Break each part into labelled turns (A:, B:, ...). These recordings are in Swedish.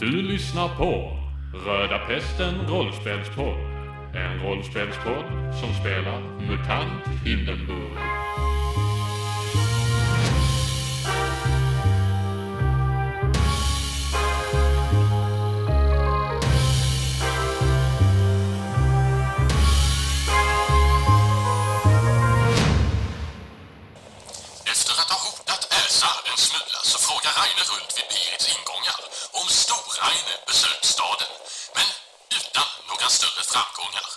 A: Du lyssnar på Röda Pesten Rollspelspodd. En rollspelspodd som spelar MUTANT Hindenburg.
B: Efter att ha hotat Ersar en smula så frågar Reine runt vid Pirits ingångar om Stor-Reine besökt staden, men utan några större framgångar.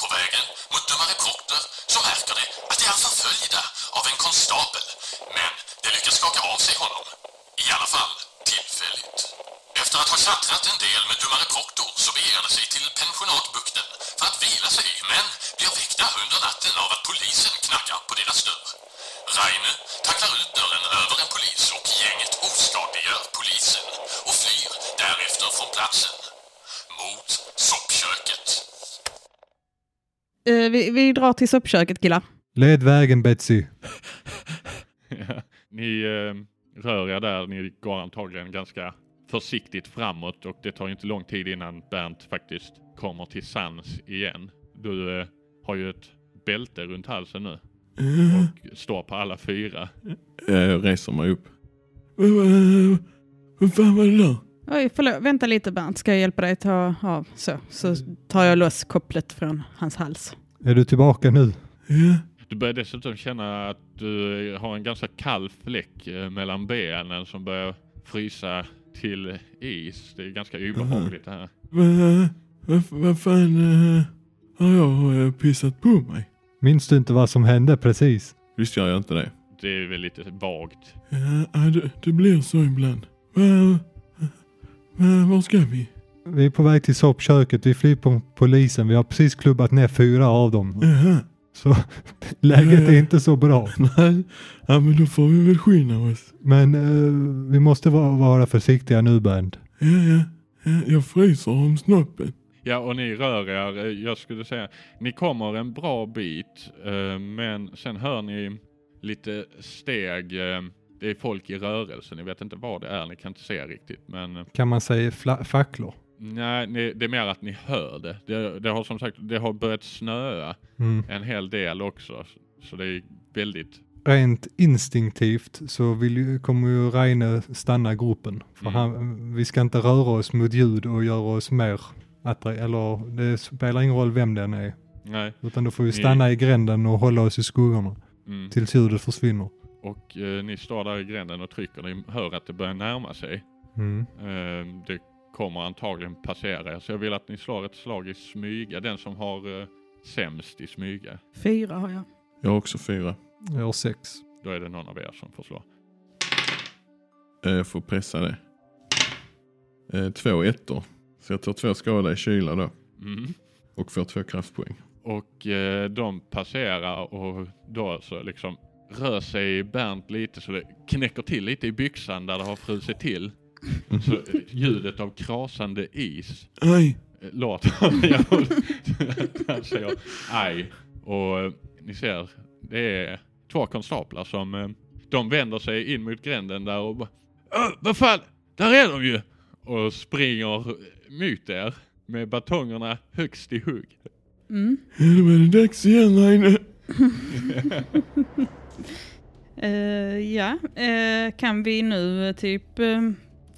B: På vägen mot Dummare Proctor så märker de att de är förföljda av en konstapel, men de lyckas skaka av sig honom. I alla fall tillfälligt. Efter att ha tjattrat en del med Dummare Proctor så beger de sig till pensionatbukten för att vila sig, men blir väckta under natten av att polisen knackar på deras dörr. Reine tacklar ut dörren över en polis och gänget oskadliggör polisen och flyr därefter från platsen. Mot soppköket.
C: Eh, vi, vi drar till soppköket killar.
D: Led vägen Betsy.
A: Ni eh, rör er där, ni går antagligen ganska försiktigt framåt och det tar ju inte lång tid innan Bernt faktiskt kommer till sans igen. Du eh, har ju ett bälte runt halsen nu och står på alla fyra.
E: Jag Eh, reser mig upp. Vad fan var det där?
C: Oj, förlåt. Vänta lite Bernt, ska jag hjälpa dig ta av? Så, så
A: Mm.
C: tar jag loss kopplet från hans hals.
D: Är du tillbaka nu?
E: Ja.
A: Du börjar dessutom känna att du eh, har en ganska kall fläck eh, mellan benen som börjar frysa till is. Det är ganska obehagligt det här.
E: Vad vad- vad fan eh, har jag eh, pissat på mig?
D: Minns du inte vad som hände precis?
E: Visst gör jag inte det.
A: Det är väl lite vagt.
E: Ja, ja, det, det blir så ibland. Va, va, var ska vi?
D: Vi är på väg till soppköket, vi flyr på polisen, vi har precis klubbat ner fyra av dem.
E: Jaha,
D: Så läget är inte så bra.
E: nej. Ja, men då får vi väl skynda oss.
D: Men eh, vi måste vara, vara försiktiga nu Bernt.
E: Ja, ja, ja, jag fryser om snoppen.
A: Ja, och ni rör er. eh, Jag skulle säga, ni kommer en bra bit, eh, men sen hör ni lite steg. eh, Det är folk i rörelse, ni vet inte vad det är, ni kan inte se riktigt. Men eh,
D: Kan man säga fla- facklor?
A: nej, ni, det är mer att ni hör det. det. Det har som sagt, det har börjat snöa
D: Mm.
A: en hel del också. Så det är väldigt,
D: Rent instinktivt så vill ju, kommer ju Reine stanna gruppen. För
A: Mm.
D: han, vi ska inte röra oss mot ljud och göra oss mer attra- eller det spelar ingen roll vem den är.
A: nej.
D: Utan då får vi
A: Ni-
D: stanna i gränden och hålla oss i skuggorna
A: Mm.
D: tills ljudet försvinner.
A: Och eh, ni står där i gränden och trycker, ni hör att det börjar närma sig.
D: Mm.
A: Ehm, Det kommer antagligen passera er, så jag vill att ni slår ett slag i smyga. Den som har eh, sämst i smyga,
C: Fyra har jag.
E: Jag har också fyra.
D: Jag har sex.
A: då är det någon av er som får slå.
E: Eh, Jag får pressa det. Eh, Två ettor. Så jag tar två skada i kyla då.
A: Mm.
E: Och får två kraftpoäng.
A: Och eh, de passerar och då så liksom rör sig Bernt lite så det knäcker till lite i byxan där det har frusit till. Så eh, ljudet av krasande is
E: Aj!
A: låt han säger aj. Och eh, ni ser, det är två konstaplar som eh, de vänder sig in mot gränden där och bara "Ö, vad fan, där är de ju! Och springer mot er med batongerna högst i hugg.
C: Mm.
E: Ja, då är det dags igen Reine.
C: Eh, ja, eh, kan vi nu eh, typ eh,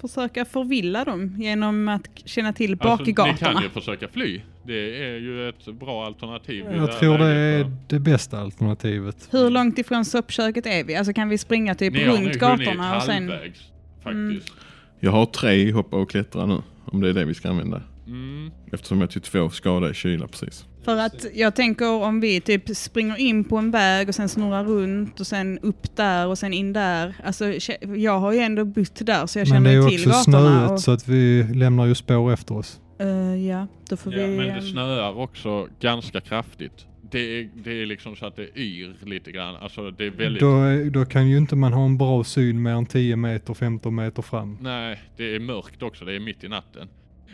C: försöka förvilla dem genom att k- känna till
A: Alltså, ni
C: bakgatorna?
A: kan ju försöka fly. Det är ju ett bra alternativ. i det
D: Jag
A: här
D: tror det
A: läget, va?
D: är det bästa alternativet.
C: Hur långt ifrån soppköket är vi? Alltså kan vi springa typ
A: Ni har nu
C: runt
A: hunnit
C: gatorna och sen...
A: halvvägs faktiskt.
E: Jag har tre hoppa och klättra nu. Om det är det vi ska använda.
A: Mm.
E: Eftersom jag tog två skada i kyla precis.
C: För att jag tänker om vi typ springer in på en väg och sen snurrar runt och sen upp där och sen in där. Alltså kä- jag har ju ändå bott där så jag
D: Men det
C: känner
D: är
C: ju
D: ju
C: till
D: också
C: gatorna.
D: snöigt
C: Och,
D: så att vi lämnar ju spår efter oss.
C: Eh, ja, då får
A: Ja,
C: vi...
A: men det
C: ehm,
A: snöar också ganska kraftigt. Det är, det är liksom så att det yr lite grann. Alltså det är väldigt...
D: Då, är- då kan ju inte man ha en bra syn mer än 10 meter, 15 meter fram.
A: Nej, det är mörkt också. Det är mitt i natten.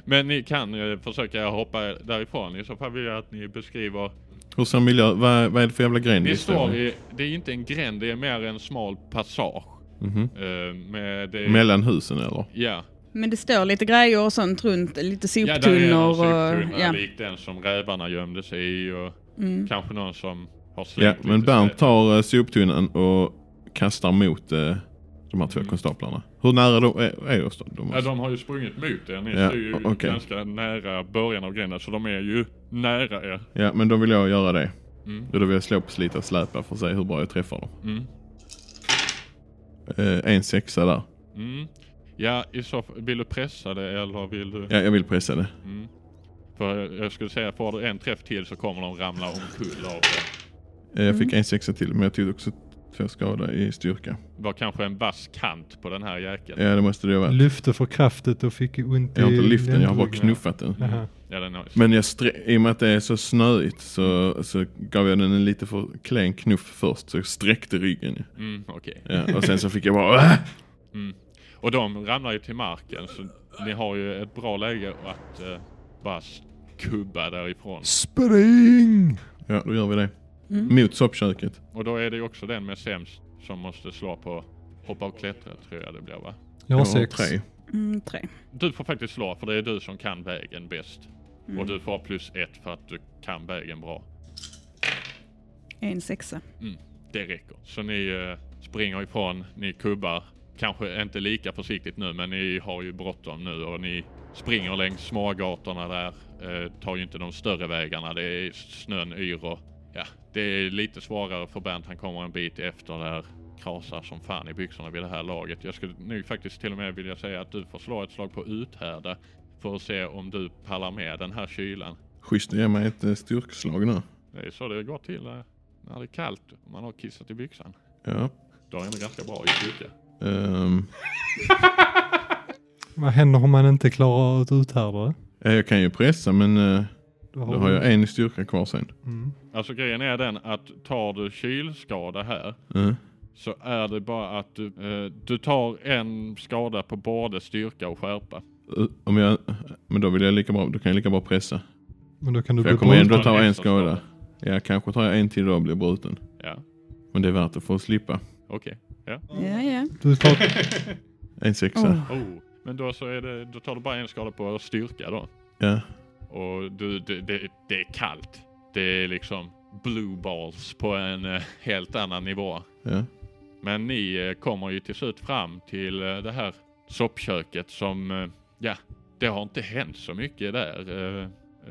A: Men ni kan eh, försöka hoppa därifrån. I så fall vill jag att ni beskriver.
E: Hur ser miljö... Vad, vad är det för jävla gren
A: Ni
E: vi
A: står
E: står i?
A: i, det är inte en gränd, det är mer en smal passage.
E: Mhm.
A: Eh, Med det,
E: Mellan husen eller?
A: Ja,
C: Men det står lite grejer och sånt runt, lite
A: Ja, där är
C: soptunnor
A: någon
C: och...
A: soptunna
C: Ja. Mm.
A: lik den som rävarna gömde sig i och kanske någon som har
E: Ja,
A: slängt
E: men
A: lite
E: Bernt
A: städ.
E: tar eh, soptunnan och kastar mot eh, de här två konstaplarna. Hur nära då är, är oss då? De
A: Mm. Ja,
E: måste...
A: de har ju sprungit mot er. Ni
E: Ja,
A: står ju
E: okej.
A: ganska nära början av gränden, så de är ju nära er.
E: ja, men då vill jag göra det.
A: Mm.
E: Då vill jag slå på slita släpa för att se hur bra jag träffar dem.
A: Mm.
E: Eh, en sexa där.
A: Mm. Ja, i så fall, vill du pressa det eller vill du?
E: Ja, jag vill pressa det.
A: För jag skulle säga, får du en träff till så kommer de ramla omkull av det.
E: Eh, jag fick
D: Mm.
E: en sexa till men jag tog också två skada i styrka.
A: Var kanske en vass kant på den här jäkeln.
E: Ja, det måste det ju vara.
D: Lyfte för kraftigt och fick ont i
E: Jag har inte lyft den, jag har bara
D: ländryggen.
E: knuffat den.
D: Jaha.
A: Ja, den har...
E: Men jag strä- i och med att det är så snöigt så, så gav jag den en lite för klen knuff först. Så jag sträckte ryggen.
A: mm, okej.
E: Ja, och sen så fick jag bara "Äh!" "Åh!"
A: Och de ramlar ju till marken så ni har ju ett bra läge att eh, bara kubba därifrån.
D: Spring!
E: Ja, då gör vi det.
D: Mm.
E: Mot soppköket.
A: Och då är det ju också den med sämst som måste slå på hoppa och klättra tror jag det blir va?
D: Jag har
E: Jag har
D: sex.
E: tre.
C: Mm, tre.
A: Du får faktiskt slå för det är du som kan vägen bäst. Och du får plus ett för att du kan vägen bra.
C: En sexa.
A: Mm, det räcker. Så ni eh, springer ifrån, ni kubbar. Kanske inte lika försiktigt nu, men ni har ju bråttom nu och ni springer längs smågatorna där. Eh, tar ju inte de större vägarna, det är snön yr och ja, det är lite svårare för Bernt. Han kommer en bit efter där. Krasar som fan i byxorna vid det här laget. Jag skulle nu faktiskt till och med vilja säga att du får slå ett slag på uthärda för att se om du pallar med den här kylan.
E: Schysst, ge mig ett eh, styrkslag nu.
A: Det är så det går till eh, när det är kallt och man har kissat i byxan.
E: Ja.
A: Du har ändå ganska bra i styrka.
E: Ehm,
D: Vad händer om man inte klarar att uthärda det?
E: ja, eh, jag kan ju pressa men eh,
D: Då
E: då har
D: du-
E: jag en i styrka kvar sen.
D: Mm.
A: Alltså grejen är den att tar du kylskada här
E: Eh,
A: så är det bara att du, eh, du tar en skada på både styrka och skärpa.
E: eh, om jag, men då vill jag lika bra, då kan jag lika bra pressa.
D: Men då kan du
E: För
D: bli
E: jag kommer
D: bruten.
E: ändå ta en
A: Extra
E: skada. Ja, kanske tar jag en till då och blir bruten.
A: Ja,
E: Men det är värt det för att slippa.
A: okej.
C: Ja, ja.
D: Du tar
E: En sexa.
C: Oh.
A: Oh. Men då så är det, då tar du bara en skada på styrka då.
E: Ja.
A: Och du, det, det, det är kallt. Det är liksom blue balls på en eh, helt annan nivå.
E: Ja.
A: Men ni eh, kommer ju till slut fram till eh, det här soppköket som, eh, ja, det har inte hänt så mycket där. Eh,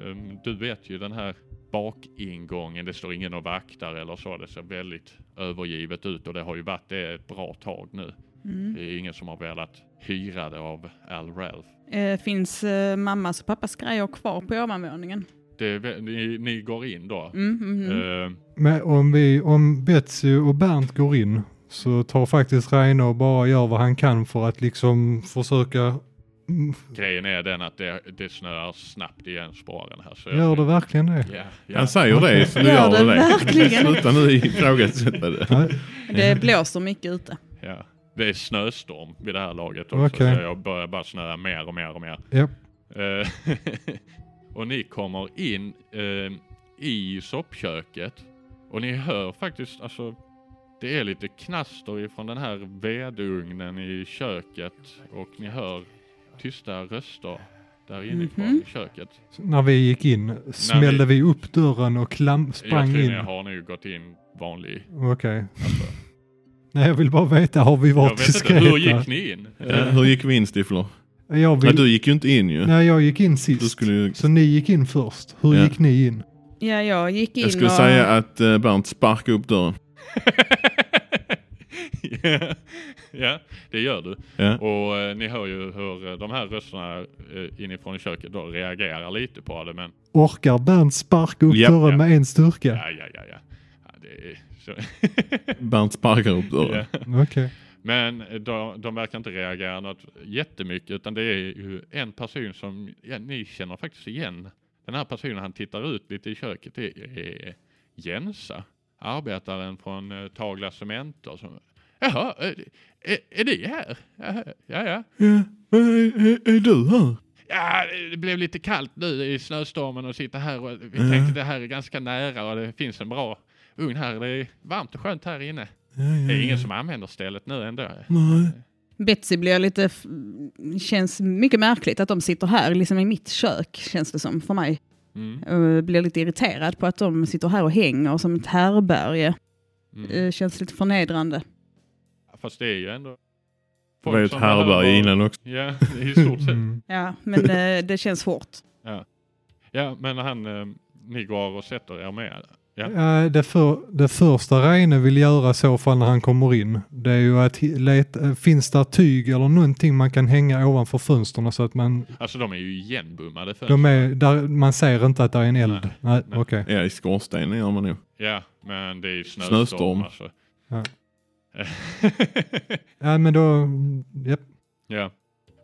A: ehm, Du vet ju den här bakingången, det står ingen och vaktar eller så. Det ser väldigt övergivet ut och det har ju varit det ett bra tag nu.
C: Mm.
A: Det är ingen som har velat hyra det av Al Ralph.
C: Eh, finns eh, mammas och pappas grejer kvar på ovanvåningen?
A: Det är, vä- ni, ni går in då.
C: Mm, mm, mm.
A: Eh,
D: Men om, vi, om Betsy och Bernt går in så tar faktiskt Reine och bara gör vad han kan för att liksom försöka. Mm,
A: grejen är den att det, det snöar snabbt igen spåren här. Så jag-
D: Gör det verkligen det?
A: Ja, ja.
E: Han säger det så nu
C: Gör
E: gör
C: det
E: han det.
C: verkligen.
E: Sluta nu ifrågasätta det.
D: Nej.
A: Eh.
C: Det blåser mycket ute.
A: Ja. Det är snöstorm vid det här laget också,
D: Okej.
A: så jag börjar bara snöa mer och mer och mer.
D: Ja.
A: Eh, och ni kommer in eh, i soppköket och ni hör faktiskt, alltså, det är lite knaster ifrån den här vedugnen i köket och ni hör tysta röster där inifrån i köket.
D: Så När vi gick in smällde vi upp dörren och klam,
A: Jag
D: sprang
A: tror ni
D: in.
A: har nu gått in vanlig.
D: Okej. Nej, jag vill bara veta, har vi
A: Jag
D: varit
A: vet inte, hur
D: diskreta?
A: gick ni in?
E: Ja, hur gick vi in Stifler?
D: Jag
E: Nej,
D: vill...
E: du gick ju inte in ju.
D: Nej, jag gick in
E: Du
D: sist.
E: skulle ju...
D: Så ni gick in först. Hur
E: Ja.
D: gick ni in?
C: Ja, jag gick in
E: Jag skulle
C: och...
E: säga att eh, Bernt sparkade upp dörren.
A: ja, ja, det gör du.
E: Ja.
A: Och eh, ni hör ju hur eh, de här rösterna eh, inifrån i köket då reagerar lite på det, men
D: Orkar Bernt sparka upp
E: Ja,
D: dörren
A: ja.
D: med en styrka?
A: ja, ja, ja, ja. ja det är så.
E: Bernt sparkar upp
A: ja.
E: dörren.
D: Okej.
A: Men eh, de, de verkar inte reagera något jättemycket, utan det är ju en person som ja, ni känner faktiskt igen. Den här personen, han tittar ut lite i köket, det är Jensa, arbetaren från eh, Tagla Cementer. Som, Jaha, eh, är, är det här? Ja, ja, ja.
E: Ja. men Är, är, är du här?
A: Ja, det blev lite kallt nu i snöstormen och sitta här och vi
E: Mm.
A: tänkte det här är ganska nära och det finns en bra ugn här. Det är varmt och skönt här inne.
E: Ja, ja,
A: Det är
E: ja.
A: ingen som använder stället nu ändå.
E: Nej.
C: Betsy blir lite... f- Känns mycket märkligt att de sitter här, liksom i mitt kök, känns det som för mig.
A: Mm.
C: Eh, Blir lite irriterad på att de sitter här och hänger som ett härberge.
A: Mm.
C: Eh, Känns lite förnedrande.
A: Fast det är ju ändå...
E: Det var ju ett
A: som
E: härberge
A: behöver-
E: innan också.
A: Ja, i stort sett.
D: Mm.
C: Ja, men eh, det känns hårt.
A: Ja, men han, eh, ni går och sätter er med. Ja.
D: Ja, Eh, det, för, det första Reine vill göra i så fall när han kommer in, det är ju att hi- leta, finns där tyg eller någonting man kan hänga ovanför fönstren så att man,
A: Alltså de är ju igenbommade fönster.
D: de är, där, man ser inte att det är en eld.
A: Nej,
D: Nej,
A: nej.
D: okej.
E: Ja, i skorstenen gör man nog.
A: Ja, men det är ju snöstorm.
E: Snöstorm.
A: Alltså.
D: Ja. Ja, men då, japp.
A: ja,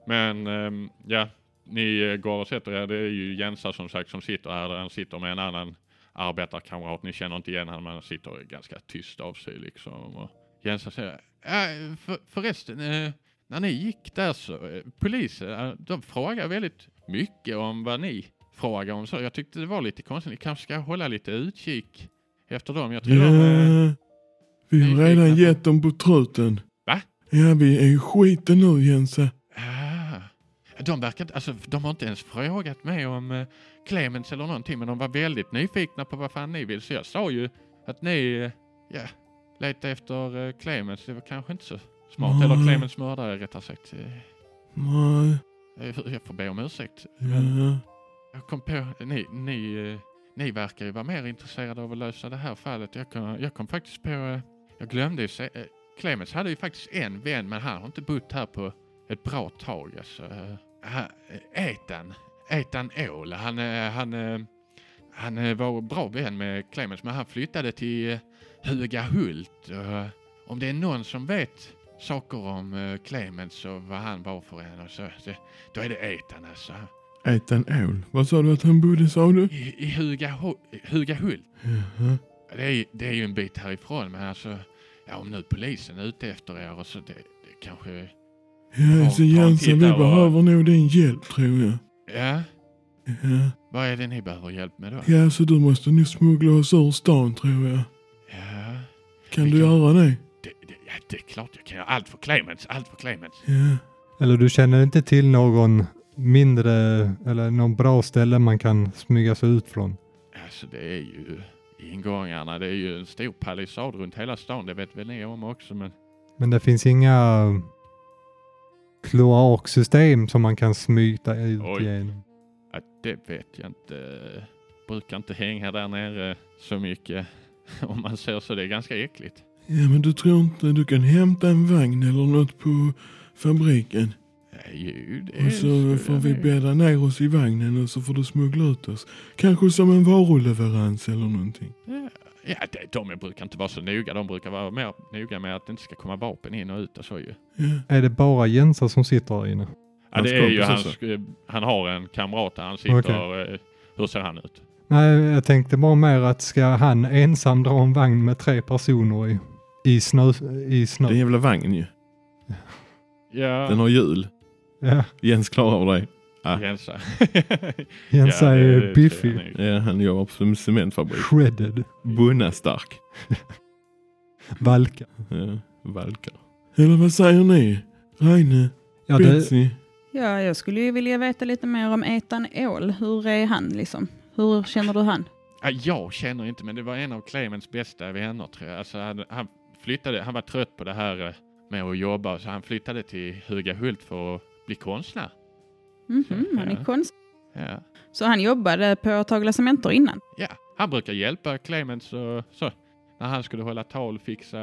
A: men ehm, ja, ni eh, går och sätter er. Det är ju Jensa som sagt som sitter här. Han sitter med en annan arbetarkamrat. Ni känner inte igen honom, men han sitter ganska tyst av sig liksom. Och Jensa säger, ja, för, förresten, eh, när ni gick där så, eh, polisen, eh, de frågar väldigt mycket om vad ni frågar om. Så jag tyckte det var lite konstigt. Ni kanske ska hålla lite utkik efter dem. Jag tror de, eh,
E: vi
A: har redan gett
E: dem på truten.
A: Va?
E: Ja, vi är i skiten nu Jensa.
A: Ah. De verkar inte, alltså de har inte ens frågat mig om eh, Clemens eller någonting, men de var väldigt nyfikna på vad fan ni vill, så jag sa ju att ni, eh, ja, letade efter eh, Clemens, det var kanske inte så smart,
E: Nej.
A: eller Clemens mördare rättare sagt. Eh,
E: Nej,
A: eh, jag får be om ursäkt.
E: ja.
A: Jag kom på, ni, ni, eh, ni verkar ju vara mer intresserade av att lösa det här fallet. Jag kom, jag kom faktiskt på, eh, jag glömde ju säga, eh, Clemens hade ju faktiskt en vän, men han har inte bott här på ett bra tag. Alltså. Eh, ha- eh, Ethan, Ethan Åhl, han, eh, han, eh, han eh, var bra vän med Clemens, men han flyttade till eh, Hugahult. Eh, Om det är någon som vet saker om eh, Clemens och vad han var för en, och så, det, då är det Ethan alltså.
E: Ethan Ål. Vad sa du att han bodde sa du?
A: I, i Hugaho- Hugahult?
E: Jaha.
A: Det är, det är ju en bit härifrån, men alltså, ja, om nu polisen är ute efter er och så, det, det kanske...
E: Ja,
A: Ta-
E: alltså
A: ta en
E: Jensa, vi
A: titt där, va?
E: behöver nog din hjälp tror jag.
A: Ja,
E: Ja.
A: vad är det ni behöver hjälp med då?
E: Ja, alltså du måste nu smuggla oss ur stan tror jag.
A: Ja,
E: Kan
A: Vi
E: du
A: kan-
E: göra det?
A: det, det, ja, det är klart jag kan göra allt för Clemens, allt för Clemens.
E: Ja.
D: Eller du känner inte till någon mindre eller någon bra ställe man kan smyga sig ut från?
A: Alltså det är ju ingångarna, det är ju en stor palissad runt hela stan, det vet väl ni om också, men
D: Men det finns inga kloaksystem som man kan smyta ut
A: Oj.
D: genom.
A: ja, det vet jag inte. Brukar inte hänga där nere så mycket, om man säger så. Det är ganska äckligt.
E: ja, men du tror inte du kan hämta en vagn eller något på fabriken?
A: Ja, Jo, det
E: Och så
A: skulle
E: får
A: jag
E: vi
A: nog-
E: bädda ner oss i vagnen och så får du smuggla ut oss. Kanske som en varuleverans eller någonting.
A: Eh, Ja, det, de brukar inte vara så noga. De brukar vara mer noga med att det inte ska komma vapen in och ut och så ju.
E: Ja.
D: Är det bara Jensa som sitter här inne?
A: Ja, det
E: Hans
A: är ju
E: kompis
A: hans, eh, han har en kamrat där han sitter. eh, Hur ser han ut?
D: Nej, jag tänkte bara mer att ska han ensam dra en vagn med tre personer i, i snö? I snö.
E: Det är en jävla vagn ju.
A: Ja,
E: Den har hjul.
D: Ja,
E: Jens klarar av det. har-
A: Jensa.
D: Jensa
A: Ja, det- det tror
D: är
A: jag
D: biffig.
A: nog.
E: Ja, han jobbar på en cementfabrik.
D: Shredded.
E: Bunna stark.
D: Valka.
E: Ja, valkar. Eller vad säger ni? Reine?
D: Ja, det,
E: Betsy?
C: Ja, jag skulle ju vilja veta lite mer om Ethan Ål. Hur är han liksom? Hur känner du han?
A: Ja, jag känner inte, men det var en av Clemens bästa vänner tror jag. Alltså, han, han flyttade, han var trött på det här eh, med att jobba, så han flyttade till Hugahult för att bli konstnär.
C: Mhm, han
A: Ja.
C: är konstig.
A: Ja.
C: Så han jobbade på Tagla Cementer innan?
A: ja, han brukar hjälpa Clemens och så. När han skulle hålla tal, fixa...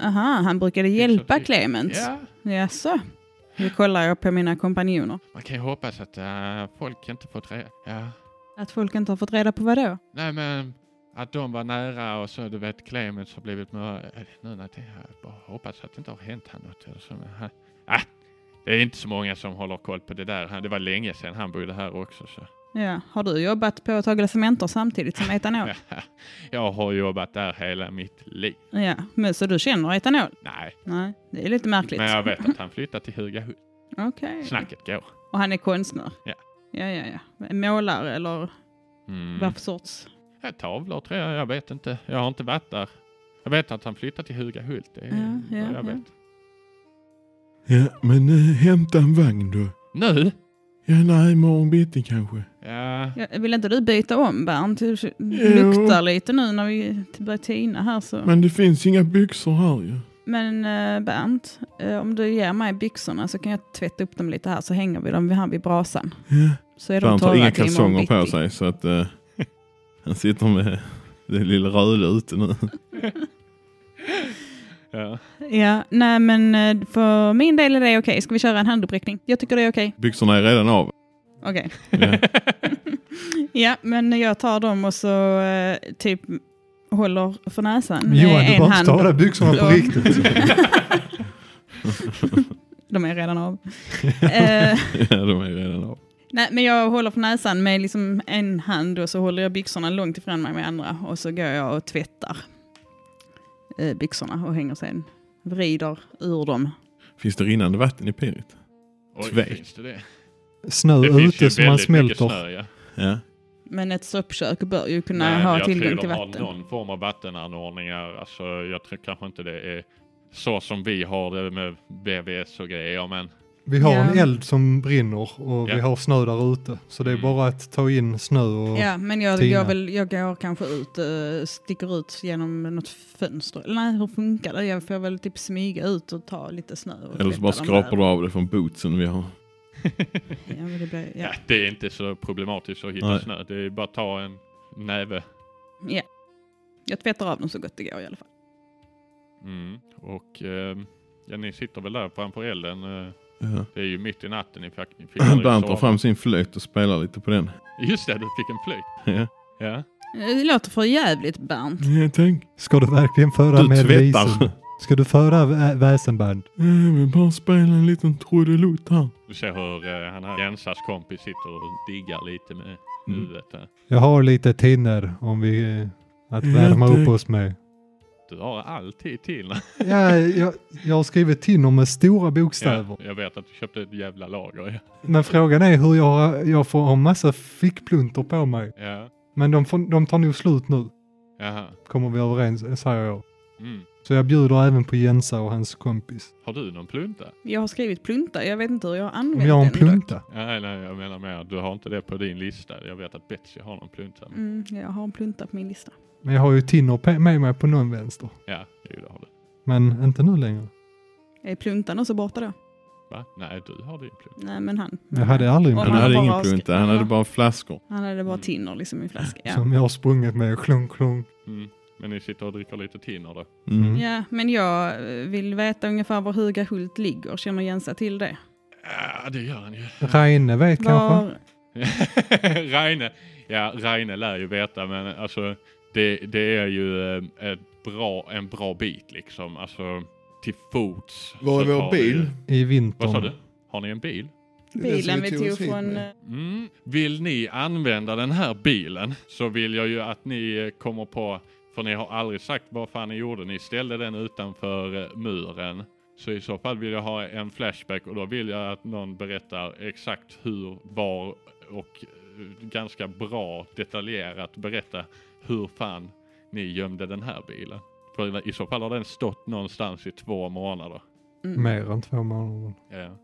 C: Aha, han brukade hjälpa
A: Exakt.
C: Clemens.
A: Ja,
C: Jaså? Nu kollar jag på mina kompanjoner.
A: Man kan ju hoppas att eh, folk inte fått reda... Ja.
C: Att folk inte har fått reda på vad då?
A: Nej men att de var nära och så du vet Clemens har blivit mördad. Nu när jag tänker, jag bara hoppas att det inte har hänt han något eller så. Men han, ah, det är inte så många som håller koll på det där. Han- Det var länge sedan han bodde här också så.
C: Ja, har du jobbat på Tagla Cementer samtidigt som Etanol?
A: Jag har jobbat där hela mitt liv.
C: Ja, men så du känner Etanol?
A: Nej,
C: Nej, det är lite märkligt.
A: men jag vet att han flyttade till Hugahult.
C: Okej.
A: Snacket går.
C: Och han är konstnär?
A: Ja.
C: Ja, ja, ja. Målare eller
A: Mm.
C: vad för sorts?
A: Ja, tavlor tror jag, jag vet inte. Jag har inte varit där. Jag vet att han flyttade till Hugahult. Det är
C: Ja, ja,
A: vad jag
C: ja.
A: vet.
E: Ja, men eh, hämta en vagn då.
A: Nu?
E: Ja, nej, imorgon bitti kanske.
A: Ja.
C: Ja, Vill inte du byta om Bernt? Du luktar lite nu när vi börjar tina här. Så. Men,
E: Men det finns inga byxor här ju.
C: eh, Bernt, eh, om du ger mig byxorna så kan jag tvätta upp dem lite här så hänger vi dem vid, här vid brasan.
E: Ja.
C: Så är de
E: Bernt
C: torra
E: har inga
C: till imorgon
E: kalsonger på
C: bitti.
E: sig så att eh, han sitter med det lilla röda ute nu.
A: ja.
C: Ja, nej men eh, för min del är det okej. Ska vi köra en handuppräckning? Jag tycker det är okej.
E: Byxorna är redan av.
C: Okej.
E: Ja.
C: Ja, men jag tar dem och så eh, typ håller för näsan med
D: Johan, du
C: en
D: behöver
C: hand.
D: inte ta av dig byxorna på
C: Ja.
D: riktigt.
C: De är redan av. Eh,
E: ja, de är redan av.
C: nej, men jag håller för näsan med liksom en hand och så håller jag byxorna långt ifrån mig med andra och så går jag och tvättar eh, byxorna och hänger sen, vrider ur dem.
E: Finns det rinnande vatten i Pirit?
A: Oj,
E: Tvek.
A: finns det det?
D: Snö
A: Det finns ju
D: ute som man
A: väldigt mycket
D: smälter.
A: snö, ja.
E: Ja.
C: Men ett soppkök bör ju kunna
A: Nej, men
C: ha
A: jag
C: tillgång
A: tror
C: till
A: de har
C: vatten.
A: någon form av vattenanordningar. Alltså, jag tror kanske inte det är så som vi har det med BVS och grejer, men
D: Vi har en
C: Ja. Mm.
D: eld som brinner och vi
A: Ja.
D: har snö där ute. Så det är bara att ta in snö och...
C: Ja, men jag
D: Tina.
C: går, väl, jag går kanske ut, eh, sticker ut genom något fönster. Eller nej, hur funkar det? Jag får väl typ smyga ut och ta lite snö. Och
E: Eller så bara skrapar du av det från bootsen vi har.
C: Ja, men det blir,
A: ja.
C: ja.
A: det är inte så problematiskt att hitta
E: Nej.
A: snö. Det är bara att ta en näve.
C: ja. Jag tvättar av dem så gott det går i alla fall.
A: Mm. Och ehm, ja, ni sitter väl där framför elden. eh,
E: Ja.
A: Det är ju mitt i natten. Ni fick, ni fick aldrig
E: Bernt tar
A: sova.
E: fram sin flöjt och spelar lite på den.
A: Just det, du fick en flöjt.
E: Ja.
A: Ja.
C: Eh, Det låter för jävligt Bernt.
E: Ja, tänk.
D: Ska du verkligen föra
E: Du
D: med
E: tvättar.
D: visen? Ska du föra vä- väsenband?
E: Ja, Jag vill bara spela en liten trudelutt här.
A: Du ser hur eh, han här, Jensas kompis sitter och diggar lite med
E: Mm.
A: huvudet. där.
D: Jag har lite tinner om vi... eh, Att
E: Ja,
D: värma
E: tack.
D: upp oss med.
A: Du har alltid till.
D: Ja, jag, jag har skrivit tinner med stora bokstäver.
A: jag vet att du köpte ett jävla lager.
D: Men frågan är hur jag, jag får ha massa fickplunter på mig.
A: Ja. Ja.
D: Men de, får, de tar nog slut nu.
A: Jaha.
D: Kommer vi överens, säger jag.
A: Mm.
D: Så jag bjuder även på Jensa och hans kompis.
A: Har du någon plunta?
C: Jag har skrivit plunta, jag vet inte hur jag har använt
D: Om jag har en
C: den dock.
D: plunta.
A: Nej, nej, jag menar mer. Du har inte det på din lista. Jag vet att Betsy har någon plunta. men-
C: Mm, jag har en plunta på min lista.
D: Men jag har ju Tinner pe- med mig på någon vänster.
A: Ja, jo, det har du.
D: Men inte nu längre.
C: Är pluntan också borta då?
A: Va? Nej, du har din plunta.
C: Nej, men han.
D: Jag hade aldrig
C: Om
D: med
E: Han
C: man
E: hade
C: bara
E: ingen
C: har
E: plunta,
C: skri-
E: han hade
C: Ja.
E: bara flaskor.
C: Han hade bara tinner liksom i flaska. Ja.
D: Som jag har sprungit med. Klunk, klunk.
A: Mm. Men ni sitter och dricker lite tinner då?
E: Mm.
C: ja, men jag eh, vill veta ungefär var Huga Hult ligger. Känner Jensa till det?
A: Ja, det gör han ju.
D: Reine vet kanske.
C: Var,
A: Reine, ja Reine lär ju veta men alltså det, det är ju eh, ett bra, en bra bit liksom. Alltså till fots. så tar det ju-
D: I
A: Vad sa du?
D: vintern.
A: Har ni en bil?
C: bilen vi tog från... eh,
A: Mm. Vill ni använda den här bilen så vill jag ju att ni eh, kommer på, för ni har aldrig sagt vad fan ni gjorde, ni ställde den utanför eh, muren. Så i så fall vill jag ha en flashback och då vill jag att någon berättar exakt hur, var och eh, ganska bra detaljerat berätta hur fan ni gömde den här bilen. För i så fall har den stått någonstans i två månader. Eh,
C: Mm,
D: Mer än två månader.
A: Ja.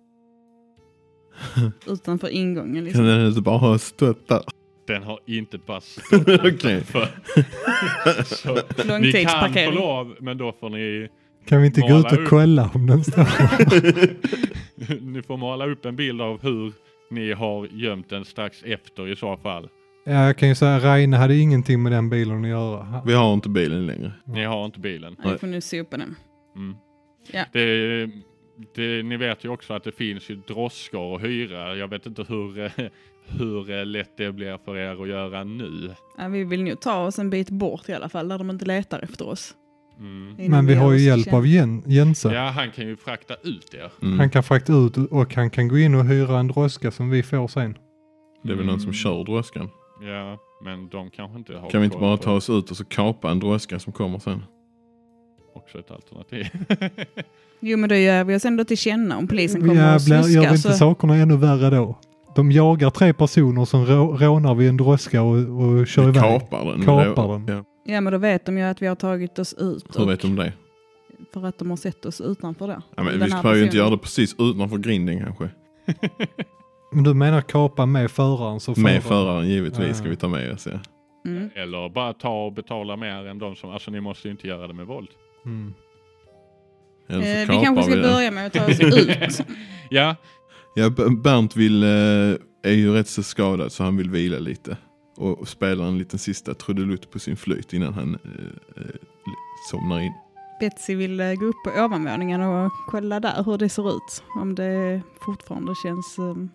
C: utanför ingången
E: Kan
C: liksom.
E: den inte bara ha stött där?
A: Den har inte bara stått
E: Okej.
A: utanför. Så
E: Mm.
A: Ni kan få
C: Långtidsparkering.
A: lov, men då får ni,
D: Kan vi inte gå
A: Måla
D: ut
A: upp.
D: och kolla om den står?
A: ni får måla upp en bild av hur ni har gömt den strax efter i så fall.
D: ja, jag kan ju säga Reine hade ingenting med den bilen att göra.
E: Vi har inte bilen längre.
A: Ni har inte bilen.
C: Ja, Vi får nu sopa den.
A: Mm.
C: Ja.
A: Det, det, ni vet ju också att det finns ju droskor att hyra. Jag vet inte hur, eh, hur eh, lätt det blir för er att göra nu.
C: Ja, vi vill nog ta oss en bit bort i alla fall, där de inte letar efter oss.
A: Mm.
C: Innan
D: Men vi
C: gör
D: har ju
C: oss
D: hjälp av
C: kända.
D: Jen, Jensa.
A: Ja, han kan ju frakta ut er.
E: Mm.
D: Han kan frakta ut och han kan gå in och hyra en droska som vi får sen.
E: Det är väl någon som kör droskan.
A: Mm. Ja, men de kanske inte har
E: Kan vi inte
A: koll
E: bara
A: på
E: ta oss ut och så kapa en droska som kommer sen?
A: Också ett alternativ.
C: Jo, men då gör vi oss ändå till känna om polisen kommer
D: Ja,
C: och
D: blir, gör vi
C: snuskar. alltså.
D: inte
C: Så...
D: sakerna ännu värre då? De jagar tre personer som rå, rånar vid en droska och, och kör
E: Vi
D: iväg.
E: kapar den.
D: Kapar den.
E: Ja.
C: Ja, men då vet de ju att vi har tagit oss ut.
E: Hur
C: och
E: vet de det?
C: För att de har sett oss utanför då.
E: Ja, men
C: Den
E: vi
C: här
E: behöver ju inte
C: personen.
E: göra det precis utanför grinden kanske.
D: Men du menar kapa med föraren? Så
E: Med
D: föraren-
E: föraren givetvis
D: Ja.
E: ska vi ta med oss. Ja.
C: Mm.
A: Eller bara ta och betala mer än de som, alltså ni måste ju inte göra det med våld.
D: Mm.
E: Eller så
C: Eh, vi
E: kapar
C: kanske ska
E: det.
C: börja med att ta oss ut.
A: Ja,
E: Ja, B- Bernt vill, eh, är ju rätt så skadad så han vill vila lite. Och spelar en liten sista trudelutt på sin flöjt innan han eh, eh, somnar in.
C: Betsy vill eh, gå upp på ovanvåningen och kolla där hur det ser ut. Om det fortfarande känns... eh,
A: mm,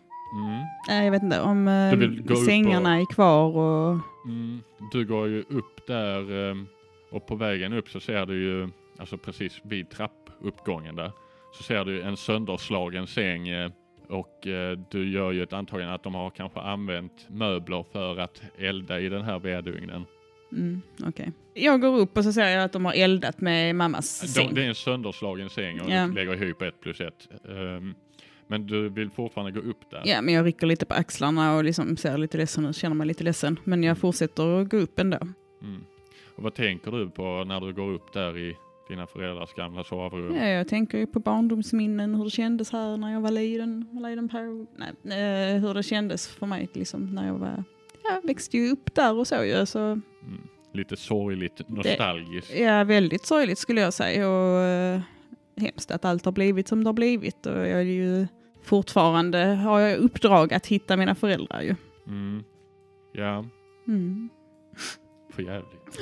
C: Nej, jag vet inte. Om
A: Du vill gå
C: eh,
A: upp
C: sängarna är kvar och...
A: mm. Du går ju upp där ehm, och på vägen upp så ser du ju, alltså precis vid trappuppgången där, så ser du en sönderslagen säng eh, och eh, du gör ju ett antagande att de har kanske använt möbler för att elda i den här vedugnen.
C: Mm, okej. Jag går upp och så ser jag att de har eldat med mammas säng.
A: De, det är en sönderslagen säng och
C: Ja.
A: lägger ihop ett plus ett. Ehm, men du vill fortfarande gå upp där?
C: Ja, men jag rycker lite på axlarna och liksom ser lite ledsen ut, känner mig lite ledsen. Men jag fortsätter att gå upp ändå.
A: Mm. Och vad tänker du på när du går upp där i dina föräldrars gamla sovrum?
C: Ja, jag tänker ju på barndomsminnen, hur det kändes här när jag var liten. liten per, nej, eh, hur det kändes för mig liksom, när jag var... Jag växte ju upp där och så ju. Så,
A: Mm. Lite sorgligt, nostalgiskt.
C: ja, väldigt sorgligt skulle jag säga. Och eh, hemskt att allt har blivit som det har blivit. Och jag är ju fortfarande... Har jag uppdrag att hitta mina föräldrar ju.
A: Mm. Ja,
C: Mm.
A: för jävligt.